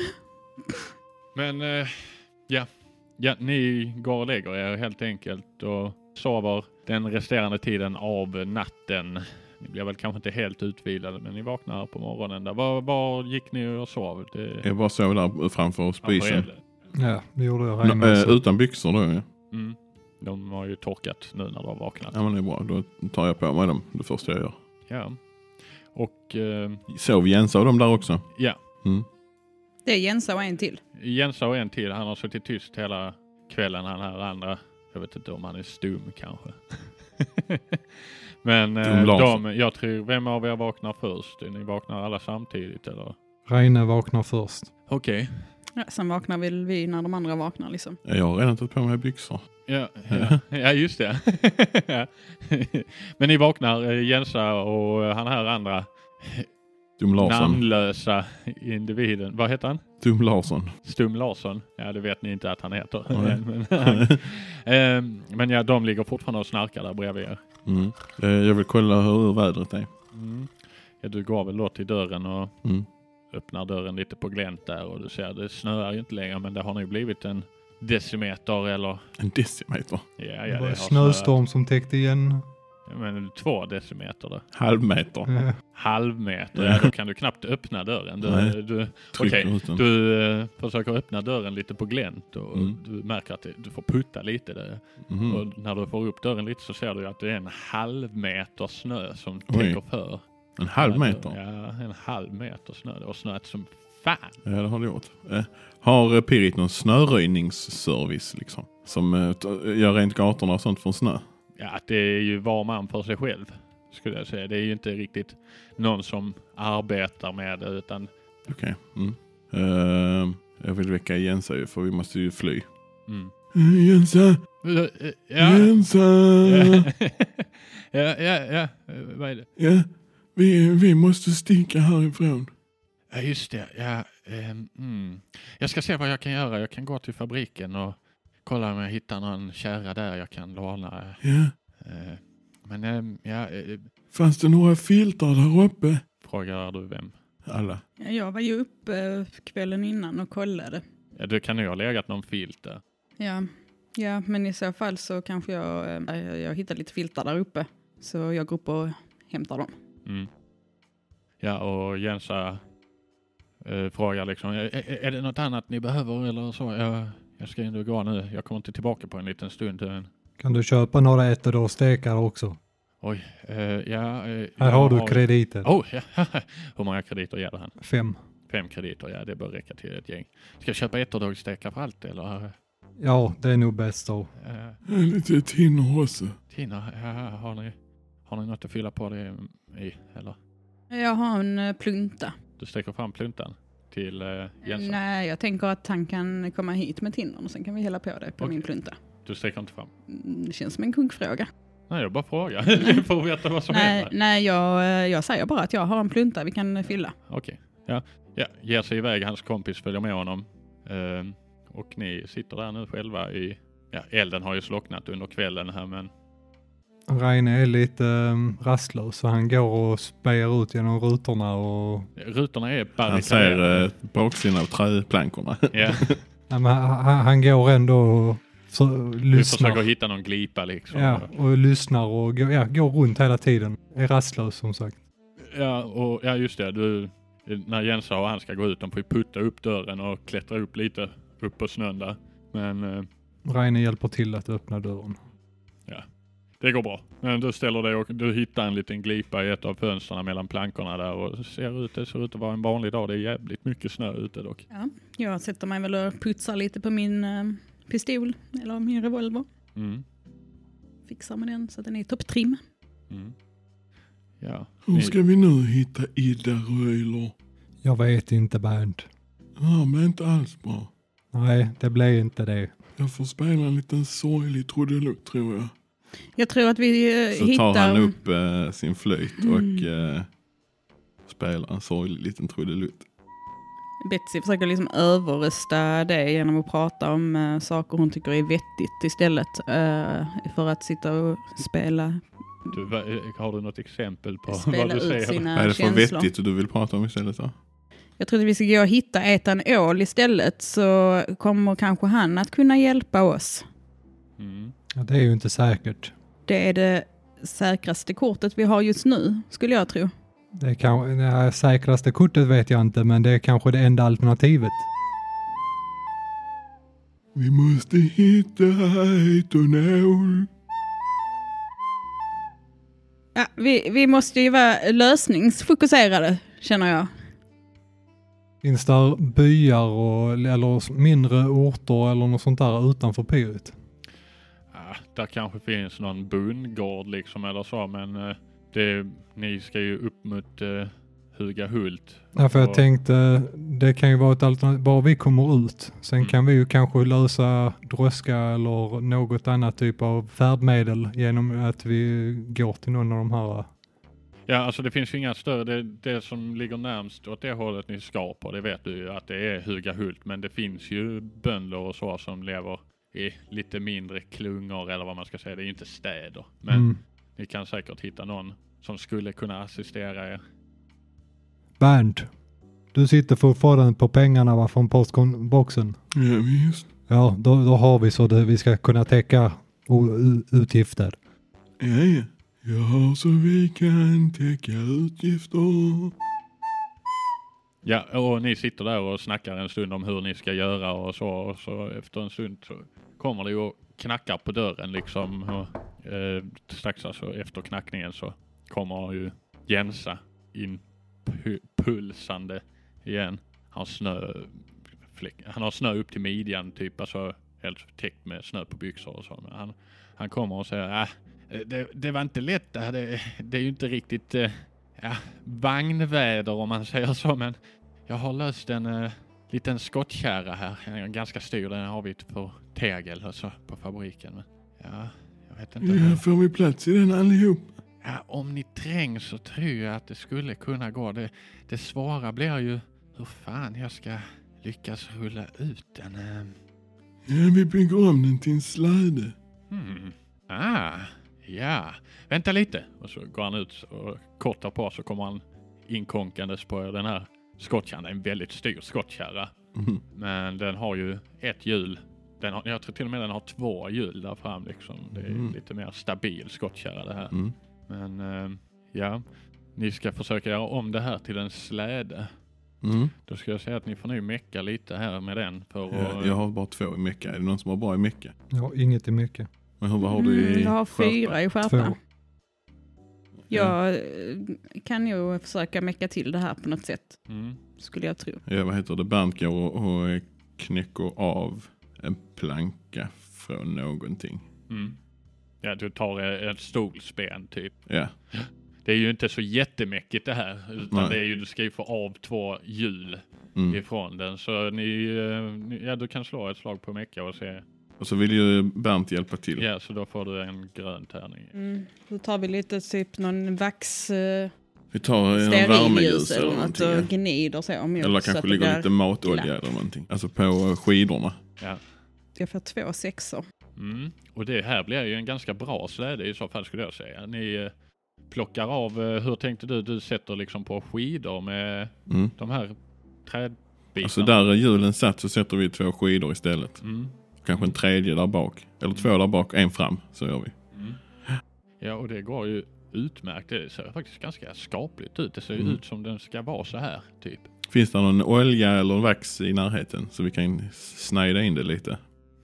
A: Men eh, ja. ja, ni går och lägger er helt enkelt och sover den resterande tiden av natten. Ni blir väl kanske inte helt utvilade, men ni vaknar på morgonen. Där. Var, var gick ni och sov? Det...
E: Jag bara sov där framför oss på isen.
D: Ja, det gjorde jag.
E: Nå,
D: Ragnar
E: eh,
D: också.
E: utan byxor då ja.
A: Mm. De har ju torkat nu när de har vaknat.
E: ja. men det är bra, då tar jag på mig dem det första jag gör.
A: Ja. Och eh,
E: Sov Jens av dem där också?
A: ja,
E: Mm.
C: Det är Jensa och en till.
A: Jensa och en till. Han har suttit tyst hela kvällen han här andra. Jag vet inte om han är stum kanske. Men eh,
E: Dum Larsson.
A: de, jag tror, vem av er vaknar först? Ni vaknar alla samtidigt eller?
D: Reine vaknar först.
A: Okej.
C: Ja, sen vaknar väl vi när de andra vaknar liksom.
E: Ja, Jag har redan tagit på mig byxor.
A: Ja, ja, ja, just det. Ja. Men ni vaknar, eh, Jensa och eh, han här andra
E: Dum Larsson.
A: namnlösa individen. Vad heter han?
E: Dum Larsson.
A: Stum Larsson. Ja, det vet ni inte att han heter.
E: Nej.
A: men, han, Ehm, men ja, de ligger fortfarande och snarkar där bredvid er.
E: Mm. Eh, Jag vill kolla hur vädret är.
A: Mm. Ja, du går väl då till dörren och
E: Mm.
A: öppnar dörren lite på glänt där och du ser det snöar ju inte längre men det har nu blivit en decimeter eller
E: En decimeter.
A: ja, ja,
D: det
A: det
D: var
A: har
D: en
A: snöat.
D: snöstorm som täckte igen.
A: Ja, Men två decimeter då.
E: Halvmeter.
A: Mm.
D: Eh,
A: Halvmeter, ja då kan du knappt öppna dörren. Du,
E: Nej.
A: du,
E: Tryck
A: Okej,
E: ut den.
A: du eh, försöker öppna dörren lite på glänt och
E: Mm.
A: du märker att det- du får putta lite där.
E: Mhm.
A: Och när du får upp dörren lite så ser du att det är en halv meter snö som
E: Oj.
A: täcker för.
E: En halv meter.
A: Ja, en halv meter snö. Det har snöat som fan.
E: Ja, det har det gjort. Eh, har eh, Pirit någon snöröjningsservice liksom? Som eh, t- gör rent gatorna och sånt från snö?
A: Ja, att det är ju var man för sig själv skulle jag säga. Det är ju inte riktigt någon som arbetar med det utan
E: Okej. Mm. Eh, jag vill väcka Jensa ju, för vi måste ju fly.
A: mm.
E: Eh, Jensa!
A: ja. Ja.
E: Jensa! Mm.
A: ja, ja, ja, Eh, vad är det?
E: Ja, vi, vi måste sticka härifrån.
A: Ja, just det. Ja, ehm, mm. Jag ska se vad jag kan göra. Jag kan gå till fabriken och kolla om jag hittar någon kärra där jag kan låna.
E: Ja,
A: Eh, Men ehm, ja, eh,
E: fanns det några filtar där uppe?
A: frågar du vem?
E: Alla.
C: Ja, Jag var ju uppe eh, kvällen innan och kollade.
A: Ja, du kan ju ha legat någon filt där.
C: Ja, ja men i så fall så kanske jag, eh, jag- jag hittar lite filtar där uppe. Så jag går upp och hämtar dem.
A: Mm. Ja, och Jensa eh, frågar liksom, "Är- är, är det något annat ni behöver eller så? Jag, jag ska ändå gå nu, jag kommer inte tillbaka på en liten stund. eh."
D: Kan du köpa några ettor och stekar också?
A: Oj, eh, ja. eh,
D: Här
A: jag
D: har du krediter.
A: Oh, ja. Hur många krediter gäller han?
D: Fem.
A: Fem krediter, ja det bör räcka till ett gäng. Ska jag köpa etterdagsstekar för allt eller?
D: Ja, det är nog bäst så.
A: Eh,
E: Lite tinner också.
A: Tina, ja, har, ni, har ni något att fylla på det i? Eller?
C: Jag har en eh, plunta.
A: Du sträcker fram pluntan. till eh, Jensen?
C: Nej, jag tänker att han kan komma hit med tindern och sen kan vi hälla på det på
A: Okej.
C: min plunta.
A: Du sträcker inte fram?
C: Mm, Det känns som en kunkfråga.
A: Nej, jag bara frågar. Du får veta vad som
C: Nej,
A: händer.
C: nej jag, eh, jag säger bara att jag har en plunta vi kan eh, fylla.
A: Okej. Ja. ja, ger sig iväg. Hans kompis följer med honom. Ehm, och ni sitter där nu själva i... Ja, elden har ju slocknat under kvällen här men...
D: Reine är lite um, rastlös så han går och spejar ut genom rutorna och
A: Rutorna är
E: Han ser
A: barrikaderade.
E: eh, baksidan av träplankorna.
A: Ja,
D: nej, men, han, han går ändå och så,
A: vi
D: lyssnar.
A: försöker hitta någon glipa liksom.
D: Ja, och lyssnar och går, ja, går runt hela tiden. Är rastlös som sagt.
A: Ja, och, ja just det. Du, när Jensa och han ska gå ut, de får ju putta upp dörren och klättra upp lite upp på snön där. Men eh,
D: Reine hjälper till att öppna dörren.
A: det går bra. Men du ställer dig och du hittar en liten glipa i ett av fönstren mellan plankorna där och ser ut, det ser ut att vara en vanlig dag. Det är jävligt mycket snö ute dock.
C: Jag sätter mig väl och putsar lite på min eh, pistol, eller min revolver.
A: Mm.
C: Fixar med den så att den är i topptrim.
A: Mm. Ja.
E: Hur ska vi nu hitta Ida Röjler?
D: Jag vet inte Bernt.
E: Ja, men inte alls bra.
D: Nej, det blev inte det.
E: Jag får spela en liten sorglig trudelutt tror jag.
C: Jag tror att vi eh,
E: Så
C: hittar... Mm.
E: tar han upp eh, sin flöjt och eh, spelar en sorglig liten trudelutt.
C: Betsy försöker liksom överrösta det genom att prata om eh, saker hon tycker är vettigt istället. eh, för att sitta och spela,
A: Du, va- eh, har du något exempel på vad
C: spela
A: du
C: ut
A: ser?
E: Vad är
C: sina
E: det för
C: känslor.
E: vettigt du vill prata om istället då?
C: Jag tror att vi ska gå och hitta etanol istället så kommer kanske han att kunna hjälpa oss.
A: Mm.
D: Ja, det är ju inte säkert.
C: Det är det säkraste kortet vi har just nu, skulle jag tro.
D: Det, kan, det säkraste kortet vet jag inte, men det är kanske det enda alternativet.
E: Vi måste hitta etanol.
C: Ja, vi, vi måste ju vara lösningsfokuserade, känner jag.
D: Finns där byar och, eller mindre orter eller något sånt där utanför Pyrit?
A: Ja, Ah, där kanske finns någon bondgård liksom eller så men eh, det, ni ska ju upp mot eh, Hugahult.
D: Ja, för jag
A: Och-
D: tänkte, det kan ju vara ett alternativ, bara vi kommer ut. Sen
A: Mm.
D: kan vi ju kanske lösa droska eller något annat typ av färdmedel genom att vi går till någon av de här. eh,
A: Ja, alltså det finns ju inga större. Det, det som ligger närmst åt det hållet ni ska på, det vet du ju att det är Hugahult. Men det finns ju bönder och så som lever i lite mindre klungor eller vad man ska säga. Det är ju inte städer. Men
D: Mm.
A: ni kan säkert hitta någon som skulle kunna assistera er.
D: Bernt, du sitter fortfarande på pengarna va, från postboxen.
E: Ja, visst.
D: Ja, då, då har vi så det, vi ska kunna täcka o- u- utgifter.
E: Ja, ja. Ja, så vi kan täcka utgifter.
A: Ja, och ni sitter där och snackar en stund om hur ni ska göra och så. Och så efter en stund så kommer det ju och knackar på dörren liksom. Och, eh, strax alltså efter knackningen så kommer ju Jensa in pu- pulsande igen. Han har snö, fläck- han har snö upp till midjan typ, alltså helt täckt med snö på byxor och så. Men han, han kommer och säger, äh, det, det var inte lätt det här. Det, det är ju inte riktigt eh, ja, vagnväder om man säger så, men jag har löst en eh, liten skottkärra här. Den är ganska stor, den har vi på tegel och så på fabriken. Men, ja, jag vet inte.
E: Ja, får vi plats i den allihop?
A: Ja, om ni trängs så tror jag att det skulle kunna gå. Det, det svåra blir ju hur fan jag ska lyckas rulla ut den. eh.
E: Ja, vi bygger om den till en släde.
A: Hmm. Ah, ja. Vänta lite. Och så går han ut och kort därpå så kommer han inkonkandes på den här skottkärran. Det är en väldigt stor skottkärra.
E: Mhm.
A: Men den har ju ett hjul. Den har, jag tror till och med den har två hjul där fram liksom. Det är
E: Mm.
A: lite mer stabil skottkärra det här.
E: Mm.
A: Men eh, ja, ni ska försöka göra om det här till en släde.
E: Mm.
A: Då ska jag säga att ni får nog mecka lite här med den för
E: Ja,
A: att...
E: jag har bara två i mecka. Är det någon som har bra i mecka?
D: Ja, inget är mycket.
E: Men hur- vad har du i
C: Mm, jag har
E: skärpa?
C: fyra i skärpa.
D: Två.
C: Jag eh, kan nog försöka mecka till det här på något sätt,
A: Mm.
C: skulle jag tro.
E: Ja, vad heter det? Bernt går och, och knäcker av en planka från någonting.
A: Mm. Ja, du tar eh, ett stolsben typ.
E: Ja,
A: Det är ju inte så jättemäckigt det här. Utan
E: Nej.
A: det är ju, du ska ju få av två hjul.
E: Mm.
A: ifrån den. Så ni, eh, ni, ja du kan slå ett slag på mecka och se.
E: Och så vill ju Bernt hjälpa till.
A: Ja, så då får du en grön tärning.
C: Mm. Då tar vi lite typ någon vax... Eh,
E: Vi tar en
C: stearinljus
E: värmeljus
C: eller något
E: ja.
C: och gnider så mot.
E: Eller
C: så att
E: kanske
C: det
E: ligger
C: blir-
E: lite matolja
C: glatt.
E: eller någonting. Alltså på eh, skidorna.
A: Ja.
C: Jag får två sexor.
A: Mm. Och det här blir ju en ganska bra släde i så fall skulle jag säga. Ni eh, plockar av, eh, hur tänkte du, du sätter liksom på skidor med
E: Mm.
A: de här trädbitarna?
E: Alltså där är hjulen satt så sätter vi två skidor istället.
A: Mm.
E: Kanske en tredje där bak. Eller två där bak och en fram. Så gör vi.
A: Ja, och det går ju utmärkt. Det ser faktiskt ganska skapligt ut. Det ser ju
E: Mm.
A: ut som den ska vara så här, typ.
E: Finns det någon olja eller vax i närheten så vi kan snajda in det lite?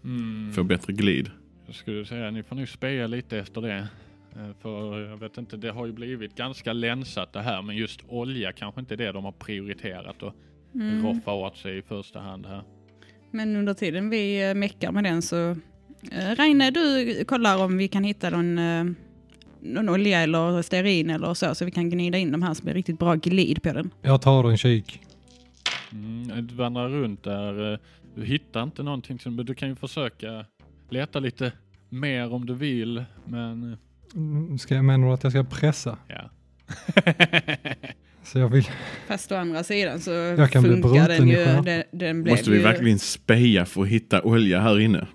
A: Mm.
E: Få bättre glid.
A: Jag skulle säga, ni får nog speja lite efter det. Eh, För jag vet inte, det har ju blivit ganska länsat det här, men just olja kanske inte är det de har prioriterat och
C: Mm.
A: roffa åt sig i första hand här.
C: Men under tiden vi eh, meckar med den så... Eh, Reine, du kollar om vi kan hitta någon, eh, någon olja eller stearin eller så, så vi kan gnida in de här som blir riktigt bra glid på den.
D: Jag tar en kik.
A: Mm, du vandrar runt där. eh, Du hittar inte någonting, som- men du kan ju försöka leta lite mer om du vill, men eh,
D: Mm, Ska jag menar du att jag ska pressa?
A: ja.
D: Så jag vill...
C: Fast å andra sidan så
D: Jag kan bli
C: funkar
D: bruten
C: den
D: i
C: ju.
D: stjärten.
C: Den, den blev
E: Måste vi
C: ju,
E: verkligen speja för att hitta olja här inne?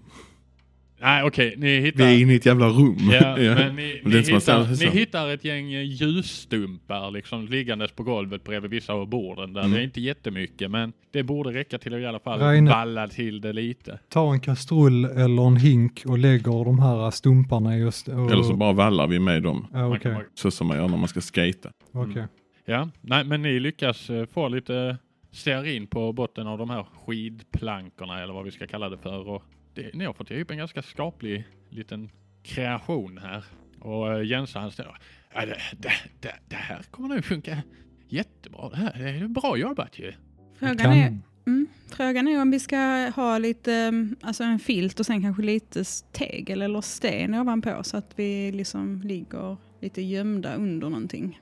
A: Nej, okej, ni hittar...
E: Vi är inne i ett jävla rum.
A: Ja, men ni,
E: Men det
A: ni,
E: är inte som att
A: hittar,
E: säga så.
A: ni hittar ett gäng eh, ljusstumpar liksom liggandes på golvet bredvid vissa av borden där. Det
E: Mm.
A: är inte jättemycket, men det borde räcka till att i alla fall
D: Reine.
A: valla till det lite.
D: Ta en kastrull eller en hink och lägger de här stumparna just... Och...
E: Eller så bara vallar vi med dem.
D: Ja,
A: Man
D: Okej,
A: kan-
E: Så som man gör när man ska skata.
D: okej.
A: Ja, nej, men ni lyckas eh, få lite stearin på botten av de här skidplankorna eller vad vi ska kalla det för. Och det, ni har fått ihop en ganska skaplig liten kreation här. Och eh, Jensa han ställer, ja, det, det, det, det här kommer nog funka jättebra. Det här det är bra jobbat ju.
C: frågan, är,
D: Kan...
C: mm, frågan är om vi ska ha lite, mm, alltså en filt och sen kanske lite s- tegel eller sten ovanpå så att vi liksom ligger lite gömda under någonting.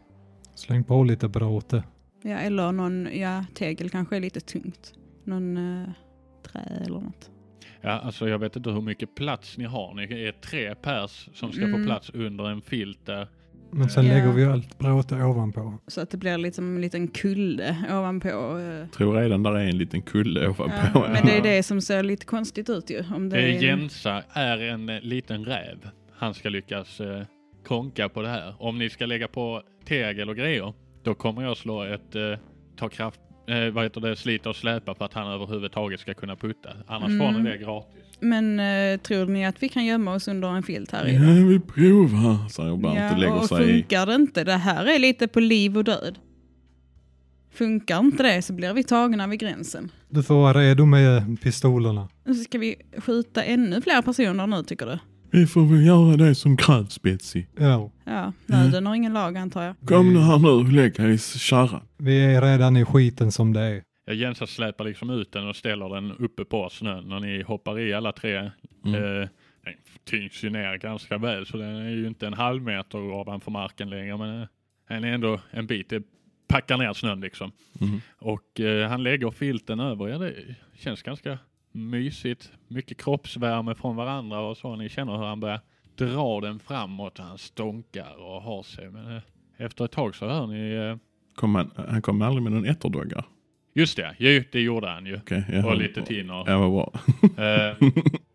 D: Släng på lite bråte.
C: Ja, eller någon, ja, tegel kanske är lite tungt. Någon eh, trä eller något.
A: Ja, alltså jag vet inte hur mycket plats ni har. Ni är tre pers som ska
C: Mm.
A: få plats under en filt där.
D: Men sen
C: Ja.
D: lägger vi allt bråte ovanpå.
C: Så att det blir liksom en liten kulle ovanpå. eh.
E: Tror redan där är en liten kulle ovanpå.
C: Ja, men det är det som ser lite konstigt ut ju. Om det
A: Eh,
C: är,
A: Jensa är en eh, liten räv. Han ska lyckas eh, konka på det här. Om ni ska lägga på tegel och grejer, då kommer jag slå ett eh, ta kraft, eh, vad heter det, slita och släpa för att han överhuvudtaget ska kunna putta. Annars får ni det gratis.
C: Men eh, tror ni att vi kan gömma oss under en filt här inne?
E: Ja, vi provar, säger Bernt och
C: Ja,
E: lägger
C: och
E: sig i.
C: funkar det inte, det här är lite på liv och död. Funkar inte det så blir vi tagna vid gränsen.
D: Du får vara redo med pistolerna.
C: Så ska vi skjuta ännu fler personer nu tycker du?
E: Vi får väl göra det som krävs, Betsy.
D: Ja,
E: Mm.
C: Ja, nöden har ingen lag antar jag.
E: Kom nu här nu och lägg er i kärran.
D: vi är redan i skiten som det är.
A: Ja, Jensa släpar liksom ut den och ställer den uppe på snön när ni hoppar i alla tre. Eh, den tyngs ju ner ganska väl så den är ju inte en halv meter ovanför marken längre men eh, den är ändå en bit. Det packar ner snön liksom.
E: Mm.
A: Och eh, han lägger filten över er. Det känns ganska mysigt. Mycket kroppsvärme från varandra och så. Ni känner hur han börjar dra den framåt och han stånkar och har sig. Men eh, efter ett tag så hör ni eh,
E: Kom han, han kom aldrig med någon etterdogga.
A: Just det, ju, det gjorde han ju.
E: Okej, jag
A: Och
E: hör-
A: lite tinner.
E: Ja, vad bra.
A: Eh,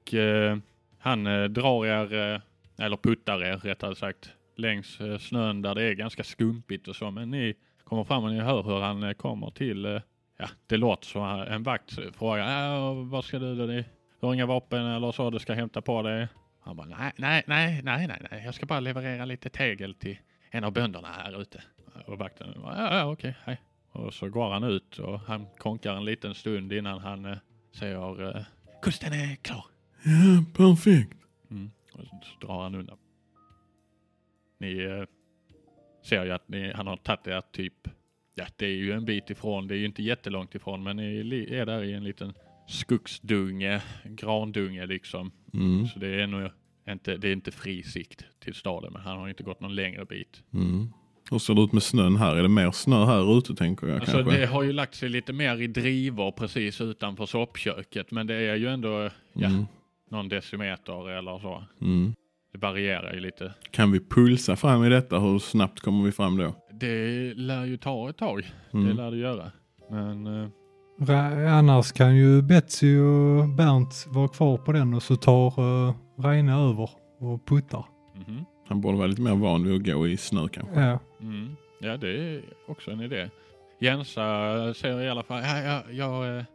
A: och, eh, han eh, drar er, eh, eller puttar er rättare sagt, längs eh, snön där det är ganska skumpigt och så. Men ni kommer fram och ni hör hur han eh, kommer till, eh, ja det låter som han- en vakt frågar, äh, vad ska du då? Du har inga vapen eller så du ska hämta på dig? Han bara, nej, nej, nej, nej, nej, nej. jag ska bara leverera lite tegel till en av bönderna här ute. Och vakten, bara, ja, ja, okej, hej. Och så går han ut och han konkar en liten stund innan han eh, säger eh, Kusten är klar.
E: Ja, perfekt.
A: Och så så drar han undan. Ni eh, ser ju att ni, han har tagit er typ, ja det är ju en bit ifrån, det är ju inte jättelångt ifrån, men ni li- är där i en liten skogsdunge, grandunge liksom.
E: Mm,
A: Så det är nog inte, det är inte fri sikt till staden, men han har ju inte gått någon längre bit.
E: mm. Hur ser det ut med snön här? Är det mer snö här ute tänker jag
A: Alltså
E: kanske?
A: det har ju lagt sig lite mer i drivor precis utanför soppköket men det är ju ändå ja,
E: Mm.
A: någon decimeter eller så.
E: Mm.
A: Det varierar ju lite.
E: Kan vi pulsa fram i detta? Hur snabbt kommer vi fram då?
A: Det lär ju ta ett tag. Det
E: Mm.
A: lär det göra. Men eh,
D: Ra- annars kan ju Betsy och Bernt vara kvar på den och så tar uh, Reine över och puttar.
A: mhm,
E: Han borde vara lite mer van vid att gå i snö kanske.
D: Ja.
A: mm, ja det är också en idé. Jensa säger i alla fall, ja, ja, jag, eh,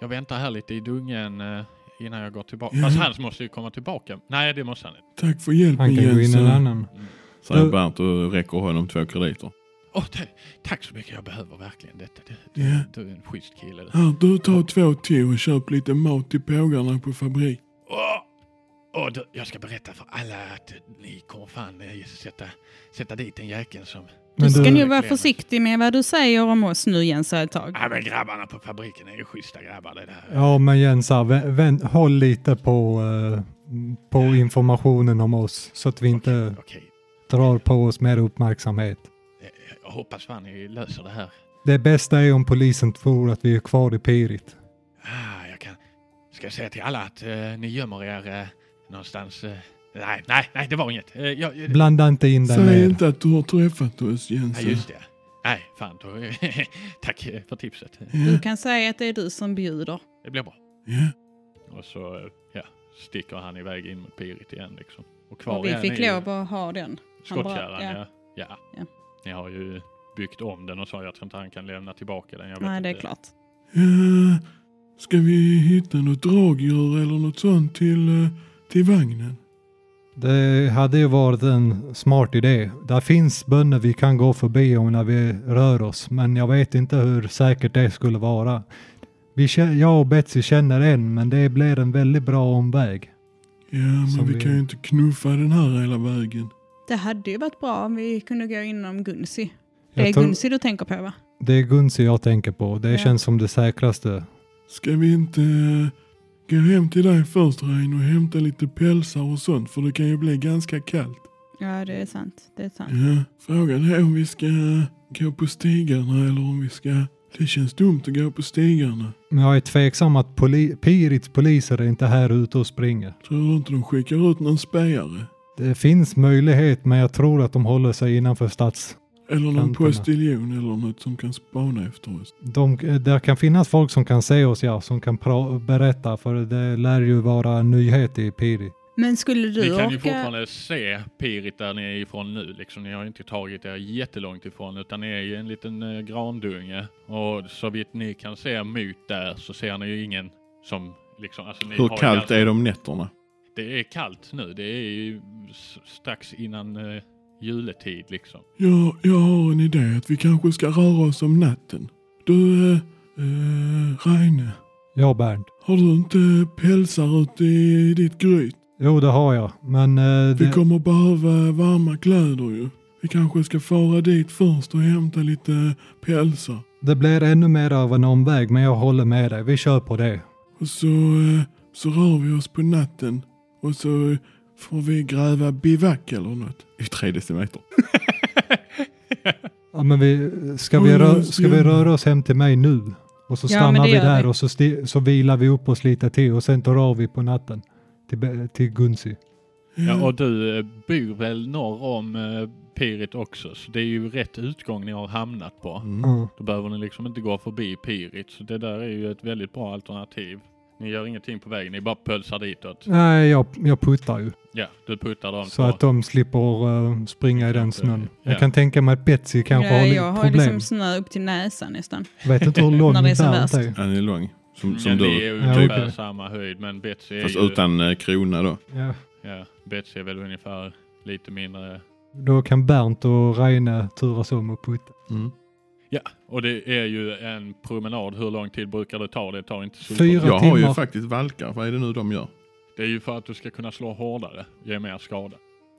A: jag väntar här lite i dungen eh, innan jag går tillbaka. Fast han måste ju komma tillbaka. Nej det måste han inte.
E: Tack för hjälpen
D: Han kan gå in i en
E: Jensen.
D: annan.
E: Säger
D: Du-
E: Bernt och räcker honom två krediter.
A: Åh, ta- tack så mycket, jag behöver verkligen detta. Du, du,
E: Ja.
A: du är en schysst kille. du.
E: Här, du tar två till och köp lite mat till pågarna på fabrik.
A: Åh! Åh, du, jag ska berätta för alla att ni kommer fan eh, sätta, sätta dit en jäkel som...
C: Du
D: Men
C: ska
D: du-
C: nog vara försiktig med vad du säger om oss nu Jens ett tag.
A: Ja, men grabbarna på fabriken är ju schyssta grabbar det där.
D: Ja men Jens, här, vä- vänt, håll lite på, eh, på informationen om oss så att vi inte
A: Okej,
D: drar på oss mer uppmärksamhet.
A: eh, jag hoppas fan ni löser det här.
D: Det bästa är om polisen tror att vi är kvar i Pirit.
A: Ah, jag kan... Ska jag säga till alla att eh, ni gömmer er eh, någonstans... Eh, nej, nej, nej, det var inget. Eh, jag, eh,
D: Blanda inte in den
E: Säg
D: mer.
E: inte att du har träffat oss
A: ja,
E: Jensen.
A: just det. Nej, fan. Då, tack eh, för tipset.
C: Du kan säga att det är du som bjuder.
A: Det blir bra.
E: Ja.
A: Och så eh, ja, sticker han iväg in mot Pirit igen liksom. Och kvar
C: Och vi
A: är
C: fick
A: ni-
C: lov att ha den. Han bara-
A: Skottkärran,
C: ja.
A: ja. Ja.
C: Ja.
A: Ni har ju byggt om den och så. Jag tror inte han kan lämna tillbaka den. Jag vet
C: Nej, det är
A: inte.
C: klart.
E: Ja, Eh, ska vi hitta något dragdjur eller något sånt till, eh, till vagnen?
D: Det hade ju varit en smart idé. Där finns bönder vi kan gå förbi om när vi rör oss, men jag vet inte hur säkert det skulle vara. Vi, kä- jag och Betsy känner en, men det blir en väldigt bra omväg.
E: Ja, men
D: Som
E: vi
D: vi-
E: kan ju inte knuffa den här hela vägen.
C: Det hade ju varit bra om vi kunde gå inom Gunsi. Det
D: Jag
C: är
D: tror-
C: Gunsi du tänker på va?
D: Det är Gunsi jag tänker på. Det
C: Ja.
D: känns som det säkraste.
E: Ska vi inte eh, gå hem till dig först Reine och hämta lite pälsar och sånt för det kan ju bli ganska kallt.
C: Ja, det är sant. Det är sant.
E: Ja, frågan är om vi ska eh, gå på stigarna eller om vi ska... Det känns dumt att gå på stigarna.
D: Men jag är tveksam att poli- Pirits poliser är inte här ute och springer.
E: Tror du inte de skickar ut någon spejare?
D: Det finns möjlighet, men jag tror att de håller sig innanför stads...
E: Eller någon
D: Kanterna.
E: postiljon eller något som kan spana efter oss.
D: De, där kan finnas folk som kan se oss, ja, som kan pra- berätta, för det lär ju vara en nyhet i Piri.
C: Men skulle du eh,
A: Ni kan ju
C: orka...
A: fortfarande se Pirit där ni är ifrån nu. Liksom, ni har ju inte tagit er jättelångt ifrån utan ni är ju en liten eh, grandunge. Och så vitt ni kan se mot där så ser ni ju ingen som liksom... Alltså, ni har ju ganska-
E: de nätterna?
A: Det är kallt nu. Det är ju s- strax innan eh, juletid liksom.
E: Ja, jag har en idé att vi kanske ska röra oss om natten. Du, eh, eh, Reine,
D: Ja, Bernt.
E: har du inte pälsar ute i ditt gryt?
D: Jo, det har jag, men... Eh,
E: Vi
D: det,
E: kommer behöva varma kläder ju. Vi kanske ska fara dit först och hämta lite pälsar.
D: det blir ännu mer av en omväg, men jag håller med dig. Vi kör på det.
E: Och så, eh, så rör vi oss på natten. Och så eh, får vi gräva bivack eller något. I tre decimeter.
D: Ja, men vi, ska, vi
E: Oj,
D: rö-
E: vad
D: ska vi
E: synd.
D: röra oss hem till mig nu? Och så
C: Ja,
D: stannar
C: men det
D: vi
C: gör
D: där
C: vi.
D: och så, sti- så vilar vi upp oss lite till och sen tar av vi på natten till, Be- till Gunsi.
E: Mm.
A: Ja, och du eh, bor väl norr om eh, Pirit också, så det är ju rätt utgång ni har hamnat på.
E: Mm.
D: Ja.
A: Då behöver ni liksom inte gå förbi Pirit, så det där är ju ett väldigt bra alternativ. Ni gör ingenting på vägen, ni bara pölsar ditåt.
D: Nej, jag, jag puttar ju
A: Ja, du puttar dem.
D: så att de slipper eh, springa i den snön.
A: Ja.
D: Jag kan tänka mig att Betsy kanske
C: Ja,
D: har
C: jag
D: lite
C: har ju
D: problem.
C: liksom snö upp till näsan nästan.
D: Vet inte hur lång
C: När det är som värst.
D: Bernt är.
E: Han är lång. Mm, Som,
A: Mm. ja, ni är ju
D: Ja,
A: ungefär
D: okej.
A: samma höjd, men Betsy är
E: Fast
A: ju...
E: utan eh, krona då.
D: Ja.
A: Ja, Betsy är väl ungefär lite mindre.
D: Då kan Bernt och Reine turas om och putta.
A: Mm. Ja, och det är ju en promenad. Hur lång tid brukar det ta? Det tar inte så
D: Fyra
E: Jag har ju
D: timmar.
E: faktiskt valkar. Vad är det nu de gör?
A: Det är ju för att du ska kunna slå hårdare, ge mer skada.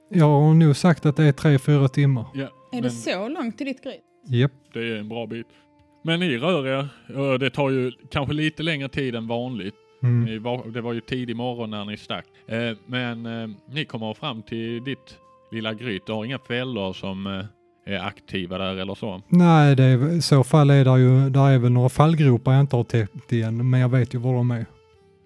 D: Jag har nog sagt att det är tre, fyra timmar.
A: Ja,
C: Är det så långt till ditt gryt?
D: Japp.
A: Det är en bra bit. Men ni rör er. Eh, Det tar ju kanske lite längre tid än vanligt.
D: Mm.
A: Ni var, det var ju tidig morgon när ni stack. Eh, Men eh, ni kommer fram till ditt lilla gryt. Du har inga fällor som eh, är aktiva där eller så.
D: Nej, det är, i så fall är det ju, där är väl några fallgropar jag inte har täppt igen, men jag vet ju var de är.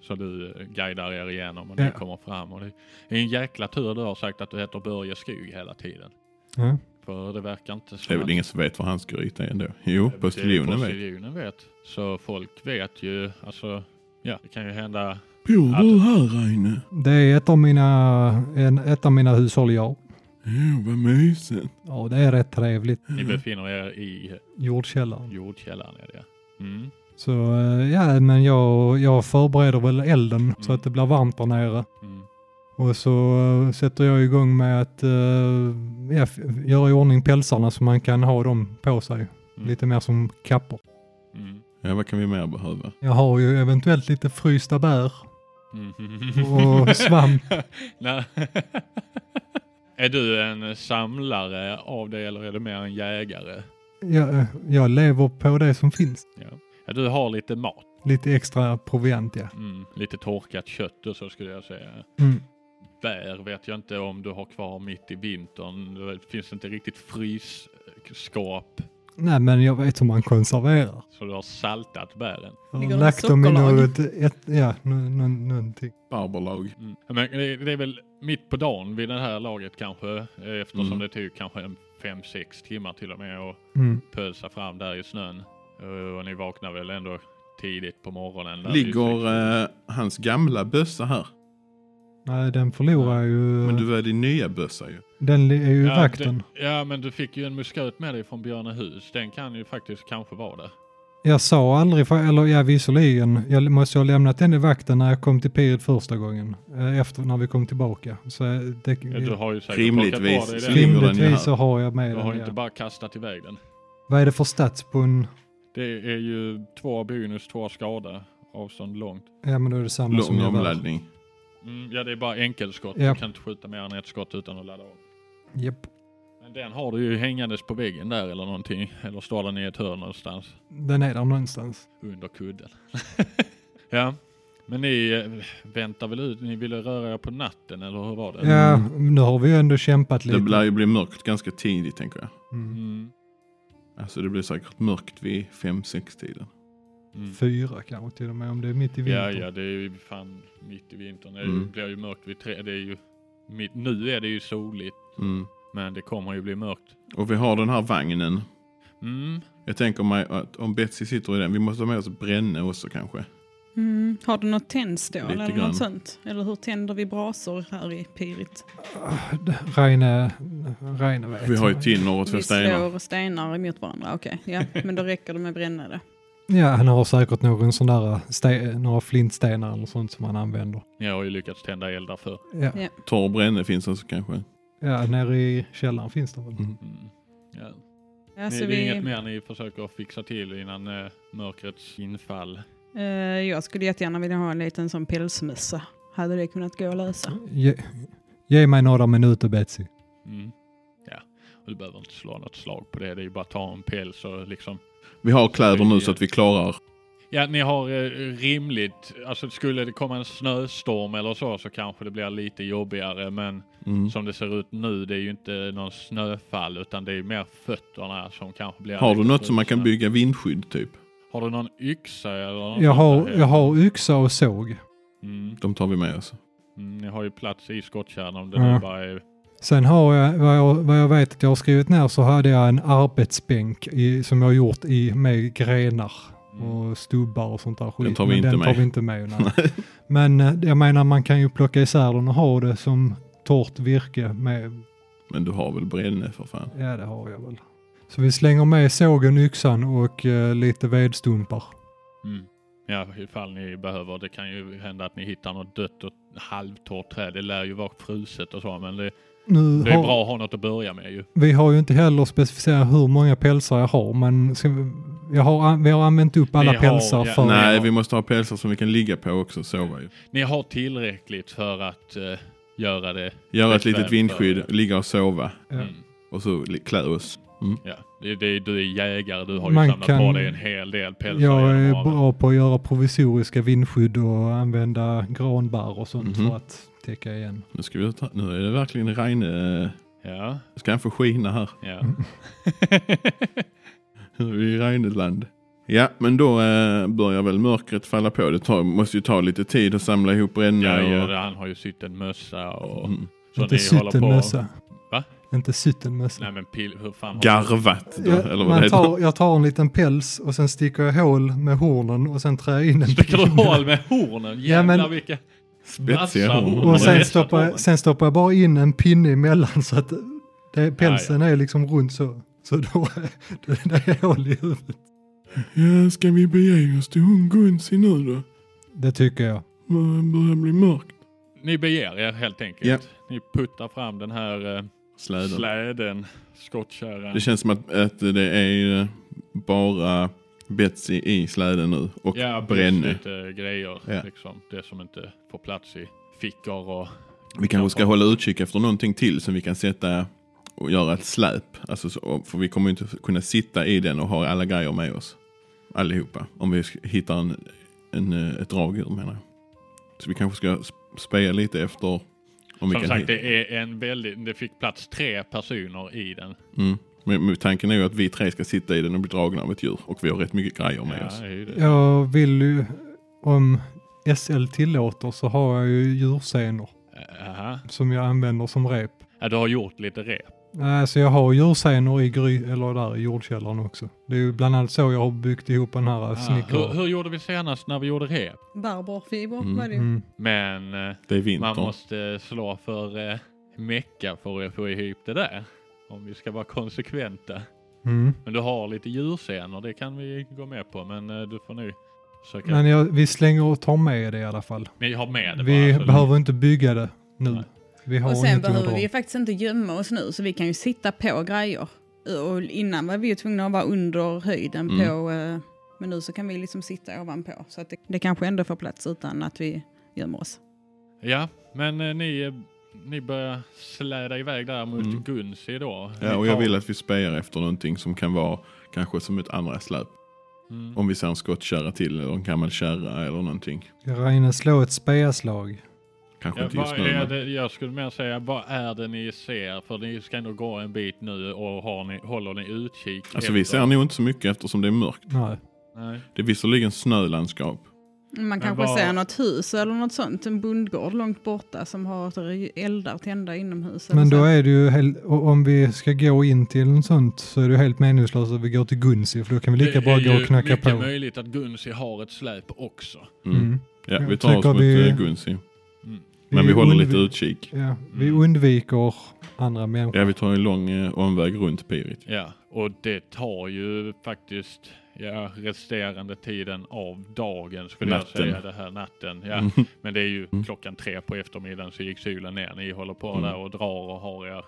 A: Så du eh, guidar er igenom och ni
D: Ja.
A: kommer fram. Och det är en jäkla tur du har sagt att du heter Börje Skog hela tiden.
D: Ja.
A: För det verkar inte som
E: Det är väl
A: att-
E: ingen som vet var han ska gryta ändå. Jo, postiljonen vet.
A: Postiljonen vet. Så folk vet ju, alltså, ja, det kan ju hända.
E: Bor
A: du
E: du här Reine?
D: Det är ett av mina, en, ett av mina hushåll, ja.
E: Jo, vad mysigt.
D: Ja, det är rätt trevligt.
A: Ni befinner er i
D: Jordkällaren.
A: jordkällaren. Är det. Mm.
D: Så eh, ja, men jag, jag förbereder väl elden så att det blir varmt där nere.
A: Mm.
D: Och så eh, sätter jag igång med att eh, ja, f- göra i ordning pälsarna så man kan ha dem på sig.
A: Mm.
D: Lite mer som kappor.
A: Mm.
E: Ja, vad kan vi mer behöva?
D: Jag har ju eventuellt lite frysta bär
A: Mm.
D: och svamp.
A: Nej. är du en samlare av det eller är du mer en jägare?
D: Jag, eh, jag lever på det som finns.
A: Ja, du har lite mat,
D: Lite extra proviant ja.
A: mm. lite torkat kött och så skulle jag säga.
D: Mm.
A: Bär vet jag inte om du har kvar mitt i vintern. Det finns inte riktigt frysskåp
D: Nej men jag vet hur man konserverar.
A: så du har saltat bären.
D: Jag
C: Ligger de
D: har
C: i
D: lagt dem i
C: sockerlag?
D: något, ett, ja, nå- nå- någonting.
E: Barberlag.
A: Mm. Men det, det är väl mitt på dagen vid det här laget kanske eh, eftersom
E: Mm.
A: det tog kanske en fem sex timmar till och med att
D: Mm.
A: pölsa fram där i snön. Eh, Och ni vaknar väl ändå tidigt på morgonen. där vid sex.
E: Ligger eh, hans gamla bössa här?
D: Nej den förlorar jag ju.
E: Men du var din nya bössa ju.
D: Den li- är ju eh, i vakten.
A: det- ja, men du fick ju en musköt med dig från Björnehus. Den kan ju faktiskt kanske vara där.
D: Jag sa aldrig, för, eller ja visserligen, jag måste ju ha lämnat den i vakten när jag kom till Piret första gången. eh, Efter när vi kom tillbaka. Så eh, det,
A: Ja, Du har ju säkert
E: Rimligtvis.
A: plockat på dig den.
E: Rim- ligger den ju här.
D: rimligtvis så har jag med
A: Du har
D: den.
A: ju inte
D: Ja.
A: bara kastat iväg den.
D: Vad är det för stadsbund?
A: Det är ju två bonus, två skada. Avstånd långt.
D: Ja men då är det samma som
E: Lång
D: jag var.
E: omladdning.
A: Mm, ja, det är bara enkelskott.
D: Ja.
A: Du kan inte skjuta mer än ett skott utan att ladda om.
D: Japp.
A: Men den har du ju hängandes på väggen där eller någonting. Eller står den i ett hörn någonstans.
D: Den är där någonstans.
A: Under kudden. ja. Men ni eh, väntar väl ut? Ni ville röra er på natten eller hur var det?
D: Ja, nu har vi ju ändå kämpat
E: Det
D: lite.
E: blir ju bli mörkt ganska tidigt tänker jag.
D: Mm.
A: Mm,
E: Alltså det blir säkert mörkt vid fem sex tiden.
A: mm.
D: Fyra kanske till och med om det är mitt i
A: Ja,
D: vintern.
A: ja, det är ju fan mitt i vintern. Det är ju-
E: Mm.
A: blir ju mörkt vid tre. Det är ju, mitt, nu är det ju soligt,
E: Mm.
A: men det kommer ju bli mörkt.
E: Och vi har den här vagnen.
A: Mm.
E: Jag tänker mig att om Betsy sitter i den, vi måste ha med oss Brenne också kanske.
C: Mm. Har du något tändstål
E: Lite
C: eller
E: grann.
C: något sånt? Eller hur tänder vi brasor här i Pirit?
D: Reine, Reine vet.
E: Vi har ju tinner och två
C: Vi
E: stenar.
C: slår stenar emot varandra, okej. Ja, men då räcker det med brännare.
D: Ja, han har säkert någon sån där, ste- några flintstenar eller sånt som han använder.
A: Ni har ju lyckats tända eldar för.
D: Ja,
C: Ja.
E: Torr Brenne finns också kanske.
D: ja nere i källaren finns det väl.
E: Mm.
A: Mm. Ja.
C: Alltså
A: ni, det är inget
C: vi,
A: mer ni försöker fixa till innan eh, mörkrets infall.
C: eh, jag skulle jättegärna vilja ha en liten sån pälsmössa. Hade det kunnat gå att lösa?
D: Ge, ge mig några minuter Betsy.
A: Mm. Ja, och du behöver inte slå något slag på det. Det är ju bara att ta en päls och liksom.
E: Vi har kläder nu så att vi klarar.
A: Ja, ni har eh, rimligt. Alltså skulle det komma en snöstorm eller så, så kanske det blir lite jobbigare. Men
E: Mm.
A: som det ser ut nu, det är ju inte någon snöfall utan det är mer fötterna som kanske blir...
E: Har du
A: lite
E: något som man kan
A: frusna.
E: bygga vindskydd typ?
A: Har du någon yxa eller något
D: Jag har,
A: sånt där?
D: jag har yxa och såg.
A: Mm,
E: De tar vi med oss.
A: mm, ni har ju plats i skottkärnan om det nu
D: Ja.
A: bara är...
D: Sen har jag vad, jag, vad jag vet att jag har skrivit ner så hade jag en arbetsbänk i, som jag har gjort i, med grenar
A: Mm.
D: och stubbar och sånt där skit.
E: tar vi
D: Men
E: inte
D: den tar
E: med.
D: vi inte med. Nej. Men eh, jag menar man kan ju plocka isär den och ha det som torrt virke med,
E: Men du har väl Brenne för fan?
D: ja det har jag väl. Så vi slänger med sågen, yxan och eh, lite vedstumpar.
A: Mm. Ja, ifall ni behöver. Det kan ju hända att ni hittar något dött och halvtorrt träd. Det lär ju vara fruset och så, men det,
D: Nu
A: det är
D: har-
A: bra att ha något att börja med ju.
D: Vi har ju inte heller specificerat hur många pälsar jag har, men ska vi, jag har, vi har använt upp alla
A: Ni har-
D: pälsar
A: ja,
D: för...
E: Nej,
A: ja.
E: vi måste ha pälsar som vi kan ligga på också och sova i.
A: Ni har tillräckligt för att eh, göra det.
E: Göra ett
A: Bekvämt
E: litet vindskydd, ligga och sova
D: Ja.
A: Mm.
E: och så li- klä oss.
A: Ja, det, det, du är jägare, du har ju
D: Man
A: samlat på
D: kan-
A: dig en hel del pälsar
D: Jag
A: genom
D: är
A: åren.
D: bra på att göra provisoriska vindskydd och använda granbarr och sånt
E: Mhm.
D: för att täcka igen.
E: Nu ska vi ta, nu är det verkligen Reine eh,
A: Ja,
E: Ska han få skina här?
A: ja.
D: Mm.
E: I Rheineland. Ja, men då eh, börjar väl mörkret falla på. Det tar, måste ju ta lite tid att samla ihop
A: ja
E: rännor.
A: gör
E: och...
A: det. Han har ju sytt en mössa och...
E: Mm.
A: Så
D: inte
A: ni håller på...
D: syttenmössa.
A: Va?
D: Inte syttenmössa.
A: Nej men pil... Hur fan har-
E: Garvat då,
D: Jag,
E: eller vad
D: man
E: det
D: tar, jag tar en liten päls och sen sticker jag hål med hornen och sen trär jag in den.
A: Sticker du hål med hornen?
D: Ja,
A: Jävlar
D: men-
A: vilka...
E: Spetsiga
A: Massa
E: horn.
A: horn.
D: Och sen
A: Vässat
D: stoppar,
A: horn.
D: jag, sen stoppar jag bara in en pinne emellan så att det, pälsen är liksom rund så. Så då då är det hål i huvudet.
E: är. Ja, ska vi bege oss till hon Gunsi nu då?
D: Det tycker jag.
E: Det börjar bli mörkt.
A: Ni beger er helt enkelt.
E: Ja.
A: Ni puttar fram den här eh,
E: Släden.
A: släden, skottkärran.
E: Det känns som att, att det är eh, bara Betsy i släden nu och
A: Ja, precis,
E: Brenne.
A: lite grejer
E: Ja.
A: liksom. Det som inte får plats i fickor och...
E: Vi kanske ska hålla utkik efter någonting till som vi kan sätta och göra ett släp. Alltså, så- för vi kommer ju inte kunna sitta i den och ha alla grejer med oss. Allihopa. Om vi sk- hittar en, en, eh, ett dragdjur menar jag. Så vi kanske ska sp- speja lite efter om
A: Som
E: vi kan
A: sagt,
E: hitta.
A: det är en väldigt... Det fick plats tre personer i den.
E: Mm. Men, men tanken är ju att vi tre ska sitta i den och bli dragna av ett djur. Och vi har rätt mycket grejer med
A: Ja,
E: oss.
A: det är ju det.
D: Jag vill ju, om SL tillåter så har jag ju djursenor
A: Aha.
D: som jag använder som rep.
A: Ja, du har gjort lite rep.
D: Nej, så jag har djursenor i gry, eller där i jordkällaren också. Det är ju bland annat så jag har byggt ihop den här ah,
A: Ah, hur,
D: snickaren.
A: hur gjorde vi senast när vi gjorde rep?
C: Barbarfiber
E: Mm.
C: var det ju.
D: Mm.
A: Men eh,
E: Det är
A: man
E: vinter.
A: måste slå för eh, mecka för att få ihop det där. Om vi ska vara konsekventa.
D: Mm.
A: Men du har lite djursenor, det kan vi gå med på. Men eh, du får nu försöka.
D: Men jag, vi slänger och tar med det i alla fall.
A: Ni har med det
D: Vi
A: bara, så-
D: behöver inte bygga det nu.
A: Nej.
D: Vi har
C: Och sen
D: ingenting att
C: behöver
D: dra.
C: vi ju faktiskt inte gömma oss nu så vi kan ju sitta på grejer. Och innan var vi ju tvungna att vara under höjden
E: Mm.
C: på, eh, men nu så kan vi liksom sitta ovanpå. Så att det, det kanske ändå får plats utan att vi gömmer oss.
A: Ja, men eh, ni, eh, ni börjar släda iväg där mot
E: Mm.
A: Gunsi då.
E: Ja,
A: Ni
E: och jag
A: tar-
E: vill att vi spejar efter någonting som kan vara kanske som ett andra släp.
A: Mm.
E: Om vi ser en skottkärra till eller en gammal kärra eller någonting.
D: Reine, slå ett speaslag.
E: Kanske
A: Ja,
E: inte just
A: vad
E: nu.
A: är
E: men-
A: det, jag skulle mer säga, vad är det ni ser? För ni ska ändå gå en bit nu och har ni, håller ni utkik?
E: Alltså vi
A: efter-
E: ser nog inte så mycket eftersom det är mörkt.
D: Nej.
A: Nej.
E: Det är visserligen snölandskap.
C: Man kanske
A: vad-
C: ser något hus eller något sånt, en bondgård långt borta som har eldar tända inomhus. eller
D: Men
C: så.
D: då är det ju, hel- och om vi ska gå in till en sånt så är det ju helt meningslöst att vi går till Gunsi för då kan vi lika
A: Det
D: bra
A: är
D: gå
A: ju
D: och knacka
A: mycket
D: på.
A: möjligt att Gunsi har ett släp också.
E: Mm.
D: Mm.
E: Ja,
D: Jag
E: vi tar oss
D: tycker
E: mot
D: vi-
E: eh, Gunsi.
A: Mm.
E: Men vi håller lite
D: undvi-
E: utkik.
D: Ja, vi
A: Mm.
D: undviker andra människor.
E: Ja, vi tar en lång eh, omväg runt Pirit.
A: Ja, och det tar ju faktiskt ja, resterande tiden av dagen skulle
E: Natten.
A: jag säga, det här natten. Ja,
E: Mm.
A: Men det är ju
E: Mm.
A: klockan tre på eftermiddagen så gick solen ner. Ni håller på
E: Mm.
A: där och drar och har er.